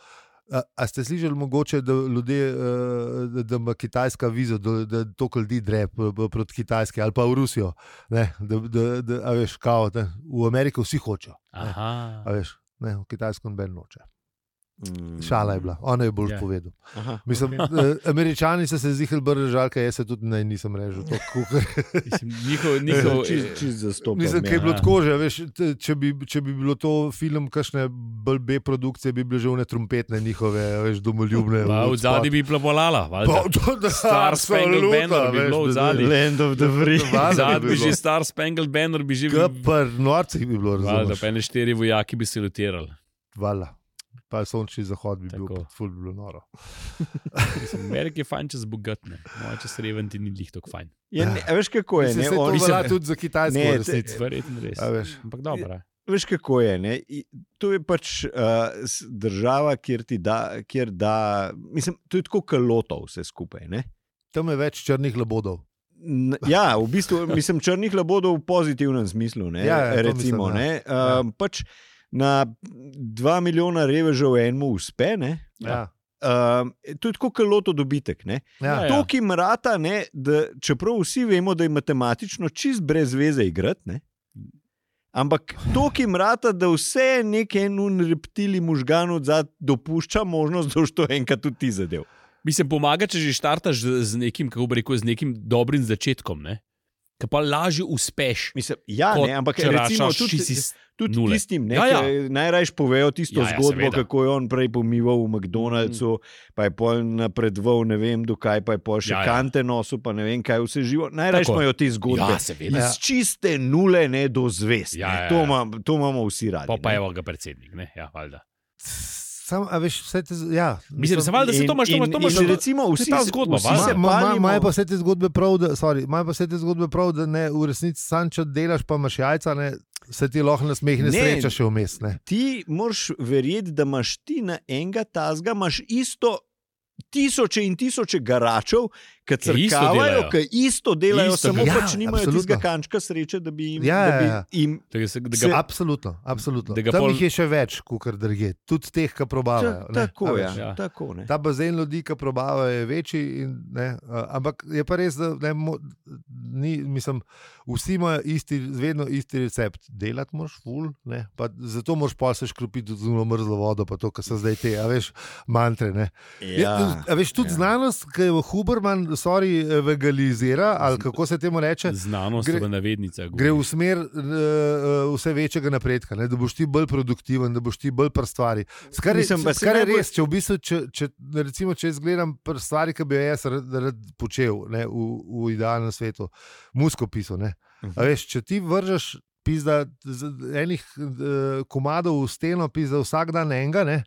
Speaker 2: A, a ste slišali, mogoče, da, ljudje, eh, da, da ima Kitajska vizo, da, da to ljudi dre p- p- proti Kitajski ali pa v Rusijo? Ne, da, da, da, a veš, kao, da, v Ameriko vsi hočejo,
Speaker 1: Aha.
Speaker 2: a veš, ne, v Kitajsko noben noče.
Speaker 3: Mm.
Speaker 2: Šala je bila, ona je bolj
Speaker 1: Ja.
Speaker 2: yeah. povedala.
Speaker 3: Aha,
Speaker 2: Mislim,
Speaker 3: okay.
Speaker 2: okay. Američani so se zihali bržali, kaj jaz se tudi naj nisem režil. To, kukar,
Speaker 1: Mislim, njihov, njihov,
Speaker 2: Eh,
Speaker 3: Čist, čist zastopam.
Speaker 2: Mislim,
Speaker 3: ja.
Speaker 2: kaj je bilo
Speaker 1: ja.
Speaker 2: tako že. Veš, t- če, bi, če bi bilo to film, kakšne bolj B produkcije, bi bile že one trumpetne njihove, a veš, domoljubne.
Speaker 1: Pa v zadnji bi plavolala,
Speaker 2: Pa,
Speaker 1: valjda.
Speaker 2: to, da,
Speaker 1: Star Spangled
Speaker 2: absolutno,
Speaker 1: Banner bi
Speaker 2: veš,
Speaker 1: bilo v
Speaker 2: da-
Speaker 1: zadaj.
Speaker 3: Land of the Free.
Speaker 2: Valjda bi
Speaker 1: Zadnji bi
Speaker 2: bilo.
Speaker 1: že Star Spangled Banner bi že
Speaker 2: Ke Pri norcih bi bilo
Speaker 1: Valjda, pa
Speaker 2: razumljeno.
Speaker 1: ene štiri vojaki bi se lutirali.
Speaker 2: Hvala. Pa sončni zahod bi bil,
Speaker 1: Tako.
Speaker 2: pa ful bi bilo noro.
Speaker 1: Ameriki je fajn, če zbogatne, moja če sreven ti ni lih tako fajn.
Speaker 3: Je, Ja, ne, a veš kako je?
Speaker 2: Mislim,
Speaker 3: Ne?
Speaker 2: saj to
Speaker 3: On,
Speaker 2: velja tudi za Kitajsko,
Speaker 3: Ne,
Speaker 2: v
Speaker 3: te-
Speaker 2: resnici.
Speaker 1: Verjetno res.
Speaker 2: A veš.
Speaker 1: Ampak dobro.
Speaker 3: veš kako je? Ne? I- To je pač uh, država, kjer ti da, kjer da. Mislim, to je tako kalotov vse skupaj. Ne?
Speaker 2: Tam je več črnih labodov.
Speaker 3: N- Ja, v bistvu mislim črnih labodov v pozitivnem smislu. Ne,
Speaker 2: Ja, ja, to
Speaker 3: recimo,
Speaker 2: mislim, ja.
Speaker 3: ne, um, pač na dva milijona revežev enemu uspe. Ne,
Speaker 2: Ja.
Speaker 3: um, to je tako kaloto dobitek. Ne.
Speaker 1: Ja,
Speaker 2: Ja.
Speaker 1: ja.
Speaker 3: To, ki mrata, ne, da, čeprav vsi vemo, da je matematično čist brez veze igrati. Ne? Ampak to, ki mrata, da vse nekaj nun reptili možgan odzad dopušča možnost, da boš to enkrat tudi ti zadev.
Speaker 1: Mislim, pomaga, če že štartaš z- z nekim, kako bi rekel, z nekim dobrim začetkom, ne? Ki pa lažje uspeš.
Speaker 3: Mislim, ja,
Speaker 1: kot
Speaker 3: ne, ampak
Speaker 1: če
Speaker 3: recimo,
Speaker 1: račaš
Speaker 3: tudi,
Speaker 1: čisto iz
Speaker 3: tudi
Speaker 1: nule.
Speaker 3: tistim, ne,
Speaker 1: Ja,
Speaker 3: ja,
Speaker 1: ja.
Speaker 3: ja. najraje povejo tisto
Speaker 1: Ja,
Speaker 3: ja,
Speaker 1: ja,
Speaker 3: ja, zgodbo,
Speaker 1: seveda. Mhm.
Speaker 3: seveda. kako je on prej pomival v McDonald'su, mm. pa je pol napredoval, ne vem, dokaj pa je pol še
Speaker 1: Ja,
Speaker 3: ja,
Speaker 1: ja.
Speaker 3: ja. kante nosil, pa ne vem, kaj vse živo. Najraje
Speaker 1: Tako.
Speaker 3: imajo te zgodbe.
Speaker 1: Ja, seveda.
Speaker 3: Iz čiste nule ne, do zvest.
Speaker 1: Ja, ja,
Speaker 3: Ja,
Speaker 1: ja.
Speaker 3: ja. to, imam, to imamo vsi radi.
Speaker 1: Pa pa
Speaker 3: Ja, ne.
Speaker 1: je ga predsednik, ne? Ja, valjda.
Speaker 2: Sam, a veš, vse te. z- Ja,
Speaker 1: Mislim, se valjda se to imaš, to imaš, to imaš.
Speaker 3: in recimo, vsi,
Speaker 1: ta
Speaker 3: se-
Speaker 1: zgodba,
Speaker 3: vsi
Speaker 1: valjda.
Speaker 3: se
Speaker 1: Ma-
Speaker 3: palimo.
Speaker 2: Imajo pa vse te zgodbe prav, da, sorry, imajo pa vse te zgodbe prav, da ne, v resnici sam, če delaš, pa imaš jajca, ne, se ti lahko nasmehne
Speaker 3: Ne.
Speaker 2: sreča še vmes. Ne.
Speaker 3: Ti moraš verjeti, da imaš ti na enega tazga, imaš isto. Tisoče in tisoče garačev,
Speaker 1: Ki
Speaker 3: ki
Speaker 1: isto
Speaker 3: crkavajo,
Speaker 1: delajo.
Speaker 3: ki isto delajo,
Speaker 1: Isto
Speaker 3: isto samo
Speaker 2: delajo.
Speaker 3: ja,
Speaker 2: Ja,
Speaker 3: pač nimajo
Speaker 2: absolutno.
Speaker 3: tistega kančka sreče, da bi jim.
Speaker 2: Ja,
Speaker 3: da bi
Speaker 2: ja, ja.
Speaker 3: jim
Speaker 1: Da ga se- da
Speaker 3: Se-
Speaker 1: ga-
Speaker 2: Absolutno, absolutno.
Speaker 1: Da ga
Speaker 2: Tam pol...
Speaker 1: pol-
Speaker 2: jih je še več, kot drugje, tudi teh, ki probavajo. ne, a
Speaker 3: tako,
Speaker 2: veš.
Speaker 3: ja,
Speaker 1: Ja.
Speaker 3: ja. tako ne.
Speaker 2: Ta bazen ljudi, ki probavajo, je večji. In, ne, a, ampak je pa res, da ne, mo, ni, mislim, vsi imajo isti, vedno isti recept. Delati moraš, ful, ne, pa zato moraš pa se škropiti z uno mrzlo vodo, pa to, kar so zdaj te, a veš, mantre. Ne.
Speaker 3: Ja,
Speaker 2: a veš, tudi
Speaker 3: ja.
Speaker 2: ja. znanost, ki jo Huberman sorry, eh, vegalizira, ali kako se temu reče.
Speaker 1: Znanost
Speaker 2: Gre-
Speaker 1: v navednicah.
Speaker 2: Gre
Speaker 1: govori.
Speaker 2: v smer eh, eh, vse večjega napredka, ne? da boš ti bolj produktiven, da boš ti bolj pri stvari. Skar je,
Speaker 3: Mislim, pa se
Speaker 2: skar je
Speaker 3: najbolj-
Speaker 2: res, če, v bistvu, če, če, recimo, če jaz gledam pri stvari, ki bi jo jaz rad, rad počel ne? v, v idealnem svetu, musko pisal. Ne?
Speaker 3: Mhm.
Speaker 2: A Veš, če ti vržeš pizda, z- enih eh, komadov v steno, pizda, vsak dan enega. Ne?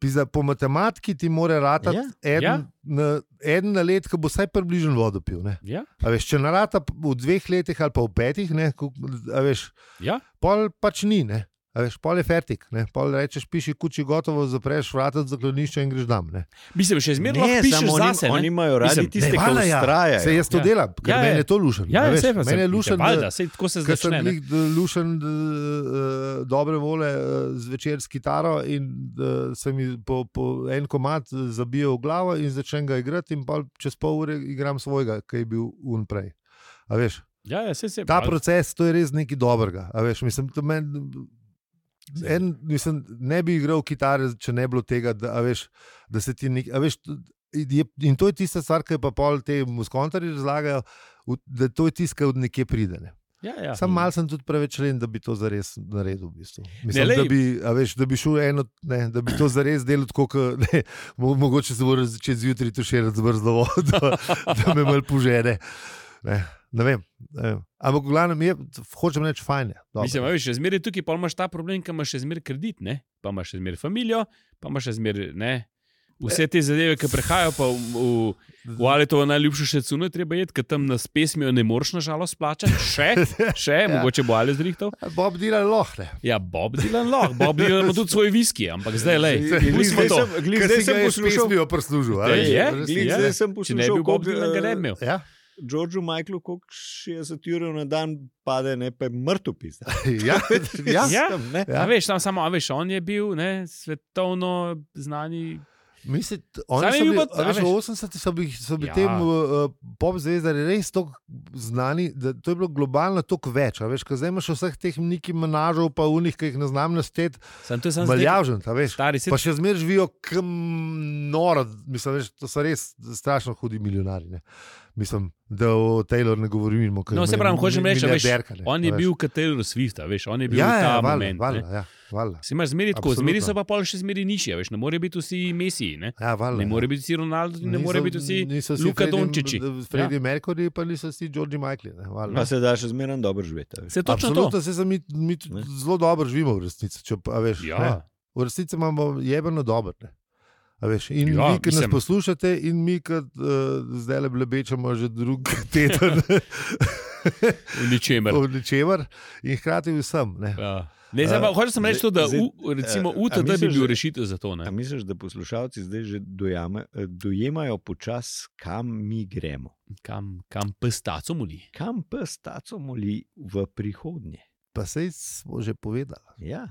Speaker 2: Pizda, po matematiki ti mora ratati
Speaker 3: Ja,
Speaker 2: en,
Speaker 1: ja.
Speaker 2: Na, en na let, ki bo vsaj približno vodo pil. Ne?
Speaker 1: Ja,
Speaker 2: A veš, če narata p- v dveh letih ali pa v petih, ne, ko- a veš,
Speaker 1: ja.
Speaker 2: pol pač ni. Ne. A veš, pol je fertik, ne. pol rečeš, piši kuči, gotovo zapreš vrata od zaklonišča in greš dam. Ne.
Speaker 1: Mislim, še zmeraj
Speaker 3: Ne,
Speaker 1: lahko pišeš
Speaker 3: samo oni-
Speaker 1: zase.
Speaker 3: Oni
Speaker 1: ne?
Speaker 3: imajo radi
Speaker 1: Mislim,
Speaker 3: Mislim, tiste,
Speaker 2: Ne,
Speaker 3: ki
Speaker 2: valjda ja.
Speaker 3: ustrajajo.
Speaker 2: Sej jaz to
Speaker 1: Ja.
Speaker 2: ja. delam, ker
Speaker 1: Ja,
Speaker 2: ja, meni
Speaker 1: ja.
Speaker 2: je to lušen.
Speaker 1: Ja,
Speaker 2: a
Speaker 1: ja,
Speaker 2: veš,
Speaker 1: sej pa
Speaker 2: meni je lušen,
Speaker 1: Valjda,
Speaker 2: da,
Speaker 1: sej tako se
Speaker 2: ker sem
Speaker 1: začne. ne?
Speaker 2: glih lušen da, eh, dobre vole eh, zvečer s kitaro in da se mi po, po en komad zabije v glavo in začnem ga igrati in pol čez pol ure igram svojega, ki je bil unprej. A veš,
Speaker 1: Ja, ja, sej se.
Speaker 2: ta proces, to je res nekaj dobrega. a Veš, mislim, to meni-
Speaker 1: Saj.
Speaker 2: en, mislim, ne bi igral kitare, če ne bi bilo tega, da, a veš, da se ti nekaj. Veš, t- je, in to je tista stvar, ki jo pa pol te muskontarji razlagajo, v- da to je tisto, kar od nekje pride. Ne.
Speaker 1: Ja, ja.
Speaker 2: Sam mal sem tudi preveč len, da bi to zares naredil. V bistvu. Mislim,
Speaker 1: lej.
Speaker 2: ne, da, bi, a veš, da bi šel eno, ne, da bi to zares delal tako, kot ne, mo- mogoče se bo raz- čez zjutraj tu še razbrzlo, da, da me mal požene. Ne, ne vem. Ne vem. Ampak v glavnem je, hočem reči, fajn je. dobro.
Speaker 1: Mislim, a veš, še zmeraj tukaj, pa imaš ta problem, ki imaš še zmeraj kredit, ne? pa imaš še zmeraj familijo, pa imaš še zmeraj ne. Vse te zadeve, ki prehajajo, pa v, v, v ali to najljubše še cuno, treba je, ker tam nas pesmijo, ne moreš nažalost plačati, še, še, ja. mogoče bo ali zrihtal.
Speaker 2: Bob Dylan lohne.
Speaker 1: Ja, Bob Dylan lahko, Bob Dylan ima tudi svoj viski, ampak zdaj le.
Speaker 3: Glih
Speaker 1: Pustimo
Speaker 3: zdaj
Speaker 1: to.
Speaker 3: sem- glih zdaj sem poslušal,
Speaker 2: jo prislužil. a
Speaker 1: Zdaj
Speaker 2: veš,
Speaker 1: je,
Speaker 2: res-
Speaker 1: glih
Speaker 3: glih
Speaker 1: Ja.
Speaker 3: zdaj sem
Speaker 1: Če ne bi
Speaker 3: poslušal,
Speaker 1: bil Bob Dylan, ga ne bi imel.
Speaker 2: Ja,
Speaker 3: Georgeu Michaelu, koliko 60 ur na dan pade, ne pa je mrtev pisal.
Speaker 2: ja, ja.
Speaker 1: Ja.
Speaker 3: ne.
Speaker 1: Ja. A veš, tam samo, a veš, on je bil ne, svetovno znani.
Speaker 2: Mislim,
Speaker 1: Saj
Speaker 2: oni
Speaker 1: ne
Speaker 2: so
Speaker 1: bi
Speaker 2: bili,
Speaker 1: bilo-
Speaker 2: a
Speaker 1: a
Speaker 2: veš,
Speaker 1: veš.
Speaker 2: v 80-ih so bili, so bili
Speaker 1: Ja.
Speaker 2: ja. tem uh, pop zvezdari res tako znani, da to je bilo globalno toliko več. a Veš, ker zdaj imaš vseh teh neki menažov, pa unih, ki jih ne znam našteti,
Speaker 1: Sam to je samo
Speaker 2: maljavžen, a veš.
Speaker 1: Stari se
Speaker 2: Pa še zmeraj živijo kam noro, mislim, veš, to so res strašno hudi milijonari. Ne. Mislim, da o Taylor ne govorimo. ker
Speaker 1: No, se
Speaker 2: mi-
Speaker 1: pravi, hočem
Speaker 2: mi-
Speaker 1: reči, a veš,
Speaker 2: milijarderka, ne,
Speaker 1: On
Speaker 2: a
Speaker 1: je
Speaker 2: veš.
Speaker 1: bil Kateril Swift, a veš, on je bil
Speaker 2: ja,
Speaker 1: ta
Speaker 2: ja,
Speaker 1: moment.
Speaker 2: valjda,
Speaker 1: ne.
Speaker 2: valjda, ja, valjda.
Speaker 1: Se imaš zmeri tako, zmeri so
Speaker 2: Absolutno.
Speaker 1: pa pol še zmeri nižje, veš, ne more biti vsi Messi, ne,
Speaker 2: Ja, valjda,
Speaker 1: ne
Speaker 2: ja.
Speaker 1: more biti vsi Ronaldo, ne more biti vsi.
Speaker 2: niso
Speaker 1: Luka
Speaker 2: Freddie-
Speaker 1: Dončići.
Speaker 2: Freddie ja. Mercury, pa niso vsi Georgi Michael. Ne, valjda.
Speaker 3: Pa se da še zmeraj dobro živeti. a veš.
Speaker 1: Se točno to.
Speaker 2: Absolutno se za mi, mi tudi
Speaker 3: Ne.
Speaker 2: zelo dobro živimo, v resnici. Če, pa- a veš, ne.
Speaker 1: Ja,
Speaker 2: v resnici imamo jebeno dobro. Ne. A Veš, in
Speaker 1: Ja,
Speaker 2: ja, vi, ki nas
Speaker 1: mislim-
Speaker 2: poslušate, in mi, ki uh, zdaj le blebečemo že drug teden
Speaker 1: v ničemer.
Speaker 2: o ničemer, in hkrati vsem. Ne.
Speaker 1: Ja. Ne, zdaj pa
Speaker 3: Eh,
Speaker 1: hočem samo reči to, da
Speaker 3: zdaj-
Speaker 1: u, recimo
Speaker 3: eh, a
Speaker 1: UTD bi
Speaker 3: misliš,
Speaker 1: bil
Speaker 3: da-
Speaker 1: rešitev za to.
Speaker 3: A
Speaker 1: Ne?
Speaker 3: misliš, da poslušalci zdaj že dojame, eh, dojemajo počas, kam mi gremo?
Speaker 1: Kam, kam pestaco moli.
Speaker 3: Kam pa stacamo li v prihodnje?
Speaker 2: Pa sej smo že povedali,
Speaker 3: Ja.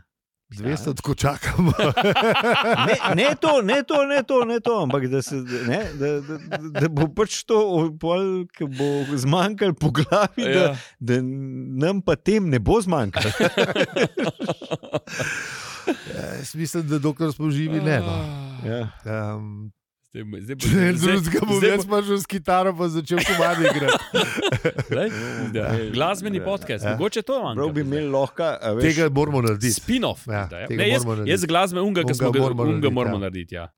Speaker 2: 200 tako čakamo.
Speaker 3: Ne, ne to, ne to, ne to, ne to, ampak da, se, ne, da, da, da- da bo pač to, o, pol, ki bo zmanjkalo po glavi, ja. da,
Speaker 1: Ja.
Speaker 3: da nam pa tem ne bo zmanjkalo.
Speaker 2: Ja, jaz mislim, da dokler smo živi, ne. No.
Speaker 3: Ja.
Speaker 2: Um,
Speaker 1: Zdaj bo- zdaj bo-
Speaker 2: Če ne
Speaker 1: zdaj-
Speaker 2: drugega bom
Speaker 1: zdaj
Speaker 2: jaz
Speaker 1: bo-
Speaker 2: pa že s kitaro pa začel komadi igrati.
Speaker 1: Glej, da,
Speaker 3: Ja.
Speaker 1: Glasbeni podcast,
Speaker 2: Ja.
Speaker 1: mogoče to imam.
Speaker 3: Prav bi imeli lahko, a veš,
Speaker 2: Tega moramo narediti.
Speaker 1: Spin-off.
Speaker 2: Ja,
Speaker 1: da, ja.
Speaker 2: tega
Speaker 1: Ne, jaz,
Speaker 2: moramo narediti.
Speaker 1: jaz glasbe unga, ki
Speaker 2: Unga
Speaker 1: smo ga
Speaker 2: moramo
Speaker 1: unga
Speaker 2: narediti,
Speaker 1: moramo
Speaker 2: ja.
Speaker 1: narediti. Ja.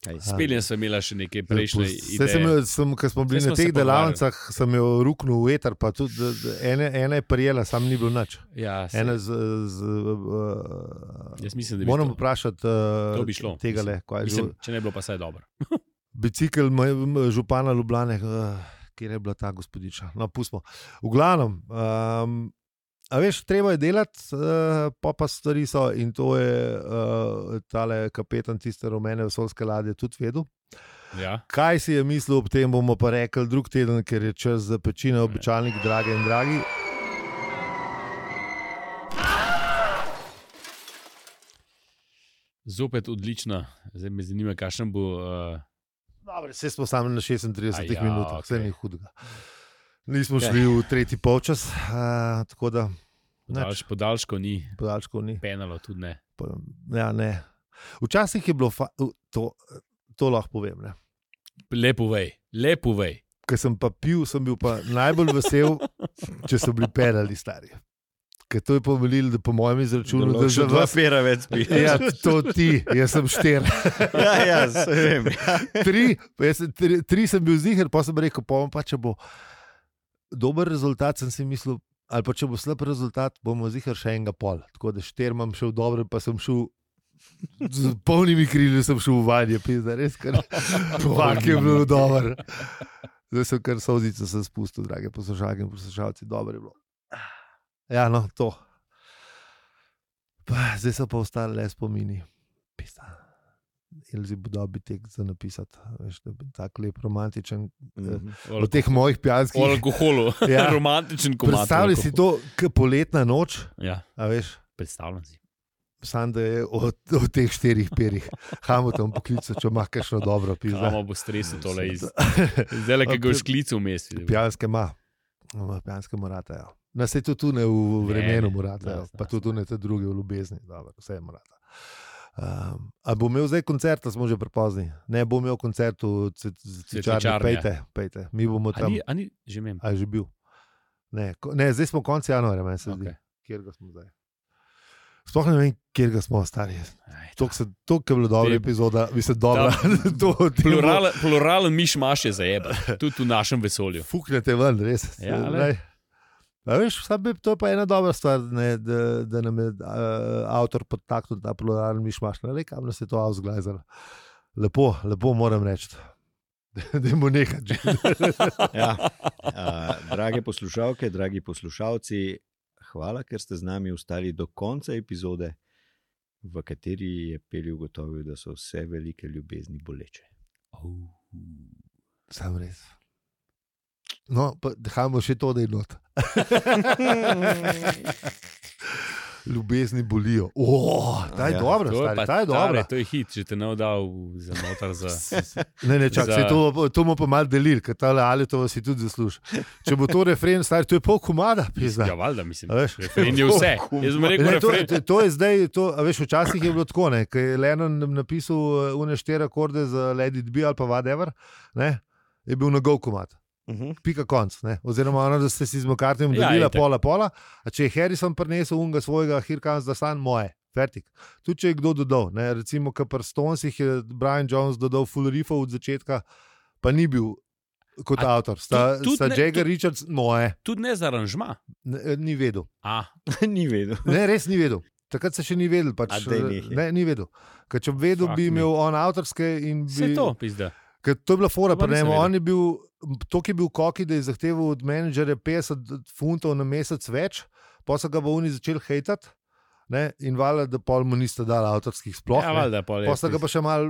Speaker 3: kaj se
Speaker 1: Speljen sem imela še neke prejšnje
Speaker 2: Saj sem,
Speaker 1: ideje.
Speaker 2: jo- sem, ko smo bili
Speaker 1: Saj
Speaker 2: na
Speaker 1: smo se
Speaker 2: teh
Speaker 1: pogovarjali.
Speaker 2: delavnicah, sem jo ruknil v eter, pa tudi da- da ene, ena je prijela, sam ni bil nič.
Speaker 1: Ja, se-
Speaker 2: Ena z. z
Speaker 1: Jaz
Speaker 2: uh,
Speaker 1: mislim, da bi
Speaker 2: moram
Speaker 1: to,
Speaker 2: vprašati
Speaker 1: to bi šlo.
Speaker 2: uh, tega le, kaj je že.
Speaker 1: Mislim, če ne bi bilo pa vse dobro.
Speaker 2: Bicikl ma- m- župana Ljubljana, uh, kjer je bila ta gospodiča. No, pustimo. V glavnem. Um, A veš, treba je delati, uh, pa pa stvari so. In to je uh, tale kapetan tiste rumene vesolske ladje tudi vedel.
Speaker 1: Ja.
Speaker 2: Kaj si je mislil ob tem, bomo pa rekli drug teden, ker je čas za pečine, običajnik, drage in dragi.
Speaker 1: Zopet odlična, zdaj me zanima, kakšen bo. Uh,
Speaker 2: Dobre, vse smo sami na 36
Speaker 1: Aja,
Speaker 2: ja, minutah, vse
Speaker 1: okej.
Speaker 2: okay. ni hudega. Nismo šli v tretji polčas, uh, tako da
Speaker 1: podaljš, podaljško ni,
Speaker 2: podaljškov ni.
Speaker 1: penalo tudi ne.
Speaker 2: Pa- Ja, ne. Včasih je bilo, fa, u, to, to lahko povem. ne.
Speaker 1: Lepo vej, lepo vej.
Speaker 2: Ker sem pa pil, sem bil pa najbolj vesel, če so bili perali stari. Ker to je pomenilo, da po mojem izračunu, da, da
Speaker 3: že
Speaker 2: za
Speaker 3: dva
Speaker 2: vas.
Speaker 3: pera več pije.
Speaker 2: Ja, to ti, jaz sem štir.
Speaker 3: ja, ja, saj vem.
Speaker 2: Tri, pa jaz, sem- tri, tri sem bil zihar, pa sem rekel, pa, bom pa če bo dober rezultat, sem si mislil, ali pa če bo slab rezultat, bomo zihar še enega pol. Tako da štir imam šel dobro, pa sem šel. Z polnimi krili sem šel v vanje, pizda, res kar. Pak je bilo dobro. Zdaj sem kar sozice se spustil, drage poslušalke in poslušalci, dobro je bilo. Ja, no, to. Pa, zdaj so pa ostali le spomini. Pisa. Elzi bo dobil tek za napisati, veš, da bi tako lep romantičen.
Speaker 3: Mhm.
Speaker 1: O
Speaker 2: V teh mojih pijanskih.
Speaker 1: o alkoholu, ja.
Speaker 2: Ja.
Speaker 1: romantičen komat. o
Speaker 2: Predstavljaj si
Speaker 1: alkoholu.
Speaker 2: to, kot poletna noč,
Speaker 1: Ja,
Speaker 2: a veš,
Speaker 1: predstavljam si.
Speaker 2: sam da je od, od teh štirih perih. Hamutom poklical, če ima kakšno dobro pizda.
Speaker 1: Imamo bo stres tole iz. Zdaj, le, ki
Speaker 2: A
Speaker 1: ga
Speaker 2: pri-
Speaker 1: v šklicu vmes. vidim.
Speaker 2: Pijanske ima, ima pijanske morata. Ja. Na se tudi tu ne v
Speaker 1: Ne, ne,
Speaker 2: vremenu morata,
Speaker 1: jasno,
Speaker 2: ja. pa
Speaker 1: jasno.
Speaker 2: tudi tu ne te druge v ljubezni, Dobro, vse je morata. Um, a bo imel zdaj koncert, ali smo že prepozni? Ne bo imel koncert v
Speaker 1: Cvetličarni, ja.
Speaker 2: Cvečarni, pejte, pejte, mi
Speaker 1: A
Speaker 2: bomo tam.
Speaker 1: ni, a ni, že vem.
Speaker 2: A je že bil. Ne, ko- ne, zdaj smo konec januarja, meni se zdi.
Speaker 1: Okay.
Speaker 2: Okay. Kjer ga smo zdaj? Sploh ne vem, kjer ga smo stari.
Speaker 1: Aj,
Speaker 2: To je bila dobra
Speaker 1: Te-
Speaker 2: epizoda, vi ste dobro.
Speaker 1: Pluralen, pluralen miš maš je zajeba, tudi v našem vesolju.
Speaker 2: Fuknete ven, res.
Speaker 1: Ja,
Speaker 2: Se-
Speaker 1: glej.
Speaker 2: glej. A veš, vsaj bi- to je pa ena dobra stvar, ne, da, da nam je uh, avtor podtaknil ta pluralen mišmaš. Ne rekam, da se je to avzglajzalo. Lepo, lepo moram reči. Da mu nekaj že.
Speaker 3: Ja. Uh, drage poslušalke, dragi poslušalci, hvala, ker ste z nami ostali do konca epizode, v kateri je Peli ugotovil, da so vse velike ljubezni boleče.
Speaker 2: Sam res. No, pa dajmo še to, da je not. Ljubezni bolijo. Oh, ta je
Speaker 3: Ja,
Speaker 2: ja, dobra,
Speaker 1: To je,
Speaker 2: stari,
Speaker 1: pa,
Speaker 2: ta je dobra.
Speaker 1: stari, to je hit, če te ne odal za notar. Za...
Speaker 2: Ne, ne, čak,
Speaker 1: Za-
Speaker 2: za... to, bo- to bomo pa malo delili, ker ta ali to si tudi zasluži. Če bo to refren, stari, to je pol komada, pizda.
Speaker 1: Ja, valjda, mislim.
Speaker 2: A veš?
Speaker 1: Refren je vse. Jaz sem rekel,
Speaker 2: oh, Ne, to,
Speaker 1: refren.
Speaker 2: to- to je zdaj, to, a veš, včasih je bilo tako, ne, ko je Lennon nam napisal une štiri akorde za Lady B ali pa Vadever, je bil njegov komad.
Speaker 1: Mhm.
Speaker 3: Uh
Speaker 2: pika konc. Ne? Oziroma, ono, da ste si z Mokartjem
Speaker 1: Ja,
Speaker 2: delili ja,
Speaker 1: itak.
Speaker 2: pola pola, a če je Harrison prinesel unga svojega, Hirkans da san moje. Fertik. Tudi če je kdo dodal, ne? recimo, kot pri Stonesih je Brian Jones dodal full riffov od začetka, pa ni bil kot
Speaker 1: A
Speaker 2: a, avtor. Sta,
Speaker 1: tudi- tudi
Speaker 2: sta
Speaker 1: ne-
Speaker 2: Jagger
Speaker 1: tudi-
Speaker 2: Richards moje,
Speaker 1: Tudi ne za aranžma.
Speaker 2: ne, eh, ni vedel.
Speaker 1: A,
Speaker 3: Ni vedel.
Speaker 2: Ne, res ni vedel. Takrat se še ni vedel.
Speaker 3: A
Speaker 2: Pač,
Speaker 3: daj nehaj.
Speaker 2: ne, ni vedel. Ker če bi vedel,
Speaker 1: Fuck
Speaker 2: bi
Speaker 1: me.
Speaker 2: imel on avtorske in bi.
Speaker 1: vse to, pizda. Ja,
Speaker 2: Ker to je bila fora,
Speaker 1: To pa
Speaker 2: pa ne,
Speaker 1: nisem vedel.
Speaker 2: on je bil, to, ki je bil koki, da je zahteval od menedžerja 50 funtov na mesec več, pa so ga v Uni začeli hejtati. Ne, in valjda, da pol mu niste dali avtorskih sploh.
Speaker 1: ja, valjda, pol je.
Speaker 2: Posta ga pa še malo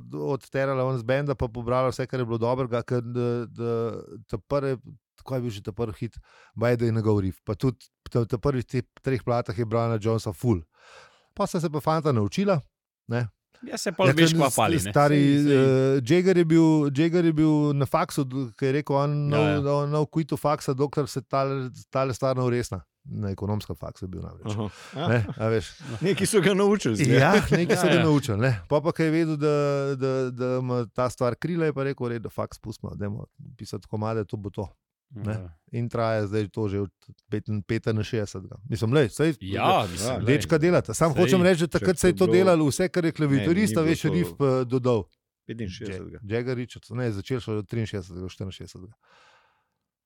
Speaker 2: od- odterala ven z benda, pa pobrala vse, kar je bilo dobrega. ker, da- da- Ta prvi, tako je bil že ta prvi hit, Bajda in Gaurif. Pa tudi ta, ta prvi te treh platah je Brana Jonesa full. Pa sta se pa fanta naučila,
Speaker 1: Ja, se pol veš,
Speaker 2: ker
Speaker 1: kva
Speaker 2: s-
Speaker 1: pali. ne.
Speaker 2: Stari eh,
Speaker 1: Sej- sej-
Speaker 2: Jager je, bil- Jagger je bil na faksu, ki je rekel,
Speaker 1: Ja,
Speaker 2: da
Speaker 1: ja.
Speaker 2: je no, no kuito faksa, dokler se tale, tale stvar ne uresna. Na ekonomskem faksu je bil namreč.
Speaker 3: Ja,
Speaker 2: Ne, a veš.
Speaker 3: Nekaj so ga naučili. zgleda.
Speaker 2: Ja, nekaj se
Speaker 1: Ja,
Speaker 2: ga
Speaker 1: ja.
Speaker 2: ja. naučil. Ne. Pa pa, ki je vedel, da, da, da ima ta stvar krila, je pa rekel, "V redu, da faks pustimo, da imamo pisati komade, to bo to. ne. In traja zdaj to že od 5 na 60. Mislim, lej, sej,
Speaker 1: Ja, mislim. glej.
Speaker 2: Dečka delata. Sam
Speaker 1: Sej,
Speaker 2: hočem reči, da
Speaker 3: če
Speaker 2: takrat
Speaker 3: to
Speaker 2: se je to
Speaker 3: bilo-
Speaker 2: delalo, vse, kar je
Speaker 3: Ne,
Speaker 2: klaviaturista,
Speaker 3: ni
Speaker 2: veš,
Speaker 3: bilo to-
Speaker 2: rif eh, dodal.
Speaker 3: 65.
Speaker 2: Jega Richards, ne, začel je od 63, 64.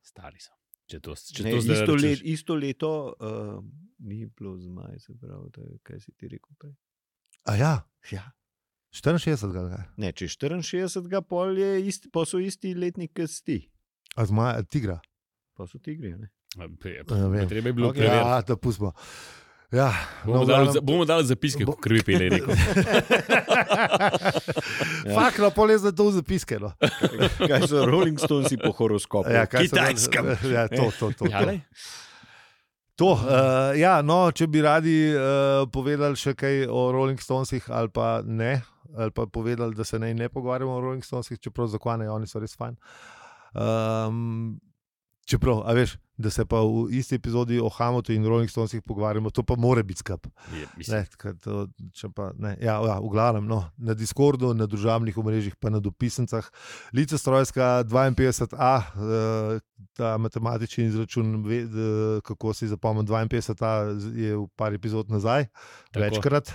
Speaker 1: Stari so. Če to, če
Speaker 3: Ne,
Speaker 1: to zdaj
Speaker 3: isto,
Speaker 1: rečeš.
Speaker 3: let, isto leto uh, ni bilo zmaj, se pravi, to je, kaj si ti rekel prej.
Speaker 2: A ja,
Speaker 3: Ja.
Speaker 2: 64, ga.
Speaker 3: Ne, če 64, pol, je isti, pol so isti letnik, kot si ti,
Speaker 2: a zmaja, tigra.
Speaker 3: pa so tigri. Ne?
Speaker 1: Ja, pe-
Speaker 2: Ja, vem.
Speaker 1: Treba je bilo okay. preveriti.
Speaker 2: Ja, da pustimo. Ja,
Speaker 1: Bomo,
Speaker 2: no,
Speaker 1: no, dali,
Speaker 2: glavnem-
Speaker 1: za- bomo dali zapiske,
Speaker 2: Bo-
Speaker 1: kako krvi pele.
Speaker 2: Fak, no, pol je za to v zapiske. No.
Speaker 3: Kaj so Rolling Stonesi po horoskopu?
Speaker 2: Ja, kaj se da-
Speaker 3: Kitajskem.
Speaker 2: Ja, to, to, to.
Speaker 1: Ja,
Speaker 2: to.
Speaker 1: lej.
Speaker 2: To, uh, ja, no, če bi radi uh, povedali še kaj o Rolling Stonesih, ali pa ne, ali pa povedali, da se naj ne pogovarjamo o Rolling Stonesih, čeprav zakone, oni so res fajn. Um, čeprav, a veš, da se pa v isti epizodi o Hamotu in Rolling Stonesih pogovarjamo, to pa mora biti skup.
Speaker 1: Je, mislim,
Speaker 2: Ne, tako to, če pa, ne, ja, ja, v glavnem, no, na Discordu, na družbenih omrežjih, pa na dopisnicah. Lice Strojska 52a, eh, ta matematični izračun, ve- eh, kako si zapomnim 52a, z- je v par epizod nazaj,
Speaker 1: Tako.
Speaker 2: Tako. večkrat.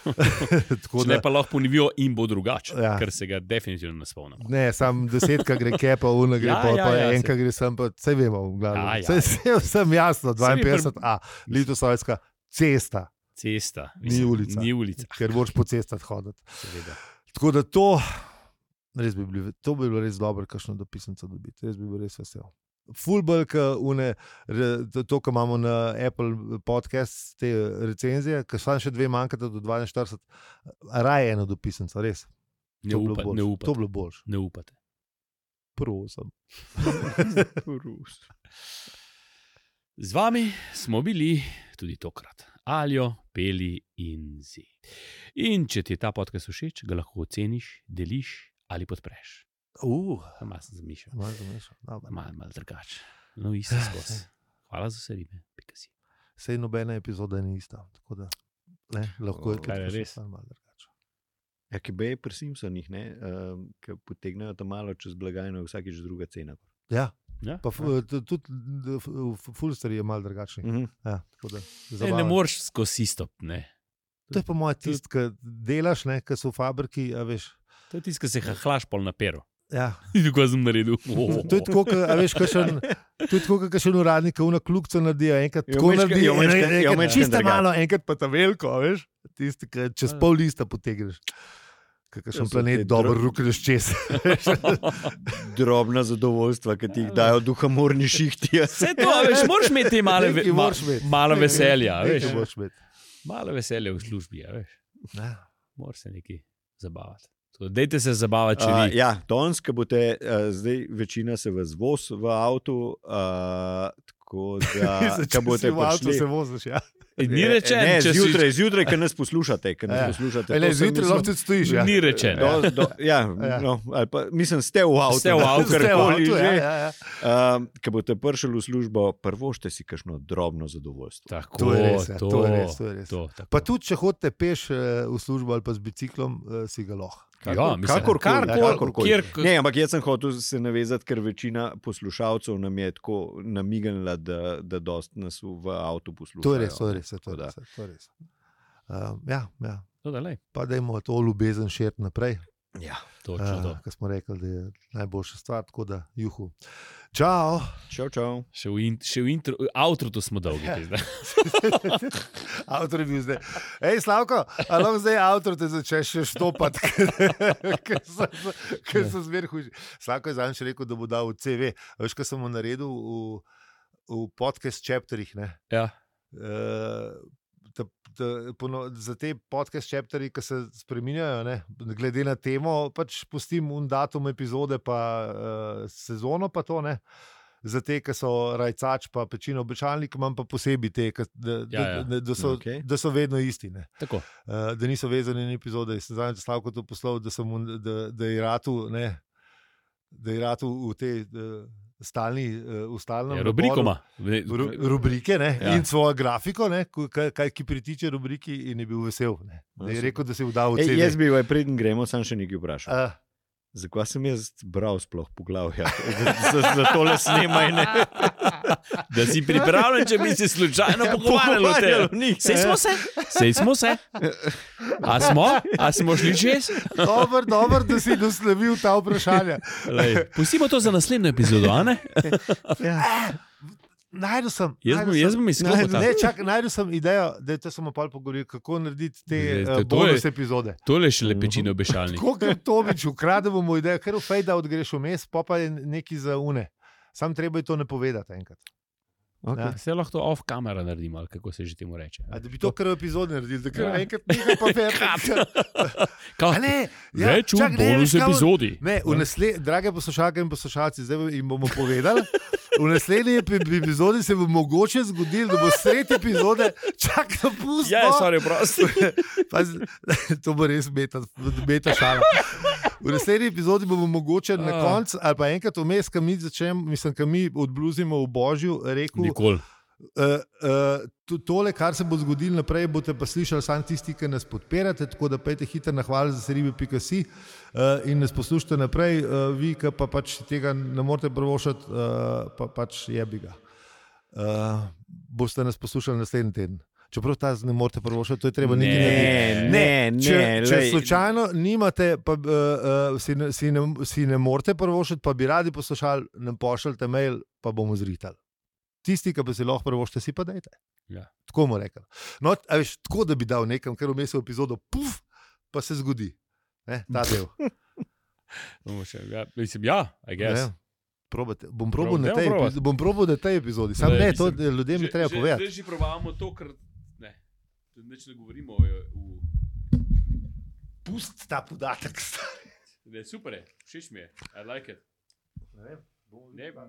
Speaker 2: Tako
Speaker 1: Če
Speaker 2: da,
Speaker 1: ne pa lahko ponovijo in bo drugače, ja.
Speaker 2: Ja.
Speaker 1: ker se ga definitivno ne spomnimo.
Speaker 2: ne, sam desetka gre kepa, unna gre
Speaker 1: Ja,
Speaker 2: pa,
Speaker 1: ja,
Speaker 2: pa
Speaker 1: ja,
Speaker 2: enka gre sem, pa vse vemo,
Speaker 1: A,
Speaker 2: v
Speaker 1: ja,
Speaker 2: glavnem.
Speaker 1: ja.
Speaker 2: Vse ja, vsem jasno, 52a, Lice Strojska, cesta,
Speaker 1: Cesta,
Speaker 2: Ni
Speaker 1: mislim,
Speaker 2: ulica.
Speaker 1: Ni ulica,
Speaker 2: ker moraš po cestah hoditi.
Speaker 1: seveda.
Speaker 2: Tako da to, res bi bilo, to bi bilo res dobro, kakšno dopisnico dobiti, res bi bil res vesel. Fulbrk, to, kar imamo na Apple podcast, te recenzije, ki so še dve manjkata do 42, raje eno dopisnico, res.
Speaker 1: Ne,
Speaker 2: To bi bilo
Speaker 1: upa,
Speaker 2: boljše.
Speaker 1: ne,
Speaker 2: To
Speaker 1: upate,
Speaker 2: bi bilo boljše,
Speaker 1: ne upate.
Speaker 2: prosim.
Speaker 3: Rus.
Speaker 1: Z vami smo bili tudi tokrat, alijo, peli in zi. In če ti je ta podcast všeč, ga lahko oceniš, deliš ali podpreš.
Speaker 2: Uf,
Speaker 1: Malo sem zamišljen,
Speaker 2: malo zamišljam, dobro.
Speaker 1: malo mal drugače. No, isto skozi. Hvala za vse ribe, pika si.
Speaker 2: Sej nobena epizoda ni ista, tako da ne, lahko je
Speaker 3: Kaj
Speaker 1: je
Speaker 2: tudi
Speaker 1: res?
Speaker 2: malo drugače.
Speaker 3: Ja, ki beje ehm, pri Simpsonih, ne, um, ki potegnejo ta malo čez blagajno, je vsakič druga cena.
Speaker 2: Ja,
Speaker 1: Ja?
Speaker 2: Pa f- t- tudi d- f- v Fulsteri je malo drugačen.
Speaker 3: Mhm.
Speaker 2: Ja, tako da,
Speaker 1: Ne, ne
Speaker 2: zabavno.
Speaker 1: moreš skozi isto. Ne.
Speaker 2: to je pa moja tist, ki delaš, ki so v fabriki, a veš.
Speaker 1: To je tisto, kar se hahlaš pol na peru.
Speaker 2: Ja,
Speaker 1: Tako sem naredil. Oh.
Speaker 2: To je tako, ke, a veš, kakšen, to je tako, kot kakšen uradnik, ki uno kljubce naredijo. Enkrat
Speaker 3: Jo,
Speaker 2: tako
Speaker 3: mečken-
Speaker 2: naredijo,
Speaker 3: jo, mečken-
Speaker 2: enkrat-
Speaker 3: jo,
Speaker 2: enkrat
Speaker 3: mečken
Speaker 2: čisto
Speaker 3: drugače.
Speaker 2: malo, enkrat pa ta veliko, a veš. Tisti, ki čez pol lista potegneš.
Speaker 3: To
Speaker 2: Kakšen
Speaker 3: so te
Speaker 2: planet dobro
Speaker 3: dro-
Speaker 2: rukneš čez.
Speaker 3: Drobna zadovoljstva, ki ti jih dajo duhamorni šihti. ja.
Speaker 1: Vse to, a veš, moraš imeti te male, ve,
Speaker 2: Nekaj
Speaker 1: ma,
Speaker 2: moraš imeti.
Speaker 1: malo veselja, a veš.
Speaker 2: Nekaj moraš imeti.
Speaker 1: Malo veselja v službi, a veš.
Speaker 2: Ja.
Speaker 1: Moraš se nekaj zabavati. Tako, Dajte se zabavati, če
Speaker 3: Uh,
Speaker 1: vi.
Speaker 3: ja, danes, ki boste, uh, zdaj večina se vas voz v avtu, uh, tako da
Speaker 2: Mislim,
Speaker 3: če
Speaker 2: če
Speaker 3: boste
Speaker 2: si v avtu,
Speaker 3: prišli. E,
Speaker 2: se voziš. Ja.
Speaker 1: In E, Ni rečen,
Speaker 3: Ne,
Speaker 1: če si-
Speaker 3: zjutraj, zjutraj, ker nas poslušate. Ker nas
Speaker 2: Ja.
Speaker 3: poslušate.
Speaker 2: E,
Speaker 3: To
Speaker 2: ne,
Speaker 3: sem
Speaker 2: Zjutraj
Speaker 3: mislil-
Speaker 2: lahko tudi stojiš. Ja.
Speaker 1: Ni rečen.
Speaker 3: Do, do, ja,
Speaker 2: Ja.
Speaker 3: no, ali pa, mislim, ste v avtu.
Speaker 1: Ste v avtu,
Speaker 2: Ste v
Speaker 3: karkoli
Speaker 2: avtu, ja,
Speaker 3: že.
Speaker 2: ja, ja.
Speaker 3: Um, Ker boste prišli v službo, prvo ste si kakšno drobno zadovoljstvo.
Speaker 1: Tako,
Speaker 2: To je res, ja,
Speaker 1: to,
Speaker 2: to je res, to je res.
Speaker 1: to, tako.
Speaker 2: Pa tudi, če hodite peš eh, v službo ali pa z biciklom, eh, si ga lahko.
Speaker 1: Ja, mislim,
Speaker 3: kakorkoli,
Speaker 1: karkoli,
Speaker 3: kakorkoli.
Speaker 1: kjer-
Speaker 3: Ne, ampak jaz sem hotel se navezati, ker večina poslušalcev nam je tako namignila, da, da dost nas v avtu posluša.
Speaker 2: To je res, to je res. ja, To
Speaker 3: Tako
Speaker 2: je
Speaker 3: da.
Speaker 2: res, ja, to je res. Um, ja, ja.
Speaker 1: To, no, da, lej,
Speaker 2: Pa da imamo to ljubezen širiti naprej.
Speaker 3: Ja.
Speaker 1: točno to.
Speaker 2: Ker smo rekli, da je najboljša stvar, tako da juhu. Čau,
Speaker 3: Čau, čau.
Speaker 1: Še v, in, še v intro, outro to smo dolgi.
Speaker 2: Ja.
Speaker 1: pizda.
Speaker 2: avtor je bil zdaj. Hej, Slavko, ali lahko zdaj avtor te začneš še štopati, ker so, ker so zmer huži. Slavko je zadnjič rekel, da bo dal v CV. A Veš, kaj sem mu naredil v, v podcast chapterih. Ne?
Speaker 1: Ja.
Speaker 2: Eh, ta, ta, pono, za te podcast chapteri, ki se spremenjajo, ne, glede na temo, pač pustim un datum epizode, pa uh, sezono, pa to ne. Za te, ki so rajcač, pa pečino običajnik, imam pa posebej te, ki- da, ja,
Speaker 1: Ja, ja.
Speaker 2: ja. Da, da, so, okay.
Speaker 3: Okej.
Speaker 2: da so vedno isti. Ne.
Speaker 1: Tako.
Speaker 2: Uh, da niso vezani na epizode. Jaz Sem zadnjič Slavko to poslal, da, sem, mu- da, da je ratu, ne, da je ratu v te uh, stalni, uh, v stalnem
Speaker 1: Ja,
Speaker 2: naboru
Speaker 1: rubriko ima.
Speaker 2: ru, rubrike ne,
Speaker 3: Ja.
Speaker 2: ja. in svojo grafiko, ne, ko- kaj, kaj, ki pritiče rubriki, in je bil vesel. Ne.
Speaker 1: No,
Speaker 2: Da je
Speaker 3: Ja,
Speaker 2: rekel, da se je vdal v
Speaker 3: Ej, jaz
Speaker 2: CV.
Speaker 3: bi, vaj, preden gremo, sam še nekaj vprašal.
Speaker 2: Uh,
Speaker 3: Zakaj sem jaz bral sploh poglavja? Za, za tole snemanje.
Speaker 1: Da si pripravljen, če bi se slučajno
Speaker 2: Ja,
Speaker 1: pogovarjal o tem. Sej smo se, sej smo se. A smo, a smo šli čez?
Speaker 2: dober, dober, da si naslovil ta vprašanja.
Speaker 1: Lej, Pustimo to za naslednjo epizodo, a ne?
Speaker 3: Ja.
Speaker 2: Najdel sem.
Speaker 1: Jaz bom,
Speaker 2: najdel
Speaker 1: jaz
Speaker 2: sem-
Speaker 1: bom izklopil.
Speaker 2: Najdel-
Speaker 1: ta-
Speaker 2: Ne, čak, najdel sem idejo, da je to samo pol pogovoril, kako narediti te
Speaker 1: Zdaj, to-
Speaker 2: uh,
Speaker 1: to
Speaker 2: bonus
Speaker 1: je-
Speaker 2: epizode.
Speaker 1: Tole je še lepečino obešalnik.
Speaker 2: Tako kot Tobič, ukrademo mu idejo, ker v fejda odgreš vmes, pa pa je neki za une. Sam treba je to ne povedati enkrat.
Speaker 3: Okay.
Speaker 1: Se Ja, lahko to off kamera naredimo, ali kako se že temu reče.
Speaker 2: A da bi to kar v epizodi naredili, da kar
Speaker 1: Ja.
Speaker 2: enkrat nekaj pa verjamem.
Speaker 1: Ka,
Speaker 2: A ne, ja,
Speaker 1: več v
Speaker 2: čak, ne,
Speaker 1: bonus
Speaker 2: veš, kaj bo-
Speaker 1: epizodi.
Speaker 2: Ne, v nasle, drage poslušalke in poslušalci, zdaj jim bomo povedali. V naslednji epi- epizodi se bo mogoče zgodilo, da bo sredi epizode čakal pust.
Speaker 1: Ja, sorry, prosti.
Speaker 2: to bo res beta, beta šala. V naslednji epizodi bomo mogoče na
Speaker 1: Ah.
Speaker 2: koncu, ali pa enkrat vmes, kam mi začnemo, mislim, kam mi odbluzimo v božju, rekel,
Speaker 1: Nikoli.
Speaker 2: Uh, uh, to, tole, kar se bo zgodilo naprej, boste pa slišali samo tisti, ki nas podpirate. Tako da pejte hitro na hvala za seribe.si uh, in nas poslušajte naprej, uh, vi, ki pa pač tega ne morete prvošati, uh, pa pač je bi ga. Uh, boste nas poslušali naslednji teden. Čeprav ta z- ne morete prvošati, to je treba nekaj narediti.
Speaker 3: Ne, ne, ne.
Speaker 2: Če, če
Speaker 3: lej.
Speaker 2: slučajno nimate, pa, uh, uh, si, ne- si, ne, si ne morete prvošiti, pa bi radi poslušali, nam pošljite mail, pa bomo zritali. Tisti, ki pa si lahko prvošte, si pa dajte.
Speaker 1: Ja.
Speaker 2: Tako mu rekel. No, a veš, tako da bi dal nekam, ker vmes v epizodo, puf, pa se zgodi. Ne, ta del.
Speaker 1: Bomo še- Ja, mislim, ja, I guess.
Speaker 2: Ne, probate. Bom probal
Speaker 1: Prob-
Speaker 2: na
Speaker 1: dajmo
Speaker 2: tej,
Speaker 1: probat.
Speaker 2: epizo- bom probal na tej epizodi, sam
Speaker 1: Daj,
Speaker 2: ne, to
Speaker 1: mislim,
Speaker 2: ljudem je treba povedati.
Speaker 1: Zdaj že probavamo to, kar ne. Neč ne govorimo o... o
Speaker 2: Pusti ta podatek.
Speaker 1: ne, super je, všeč mi je, e, I like it. Ne, e,
Speaker 2: Bo videl, kaj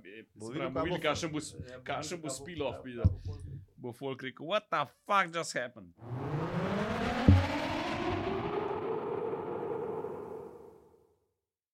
Speaker 2: bo- e,
Speaker 1: videl, kakšen bo, s- kakšen bo spil off, bi da. Bo folk rekel, what the fuck just happened.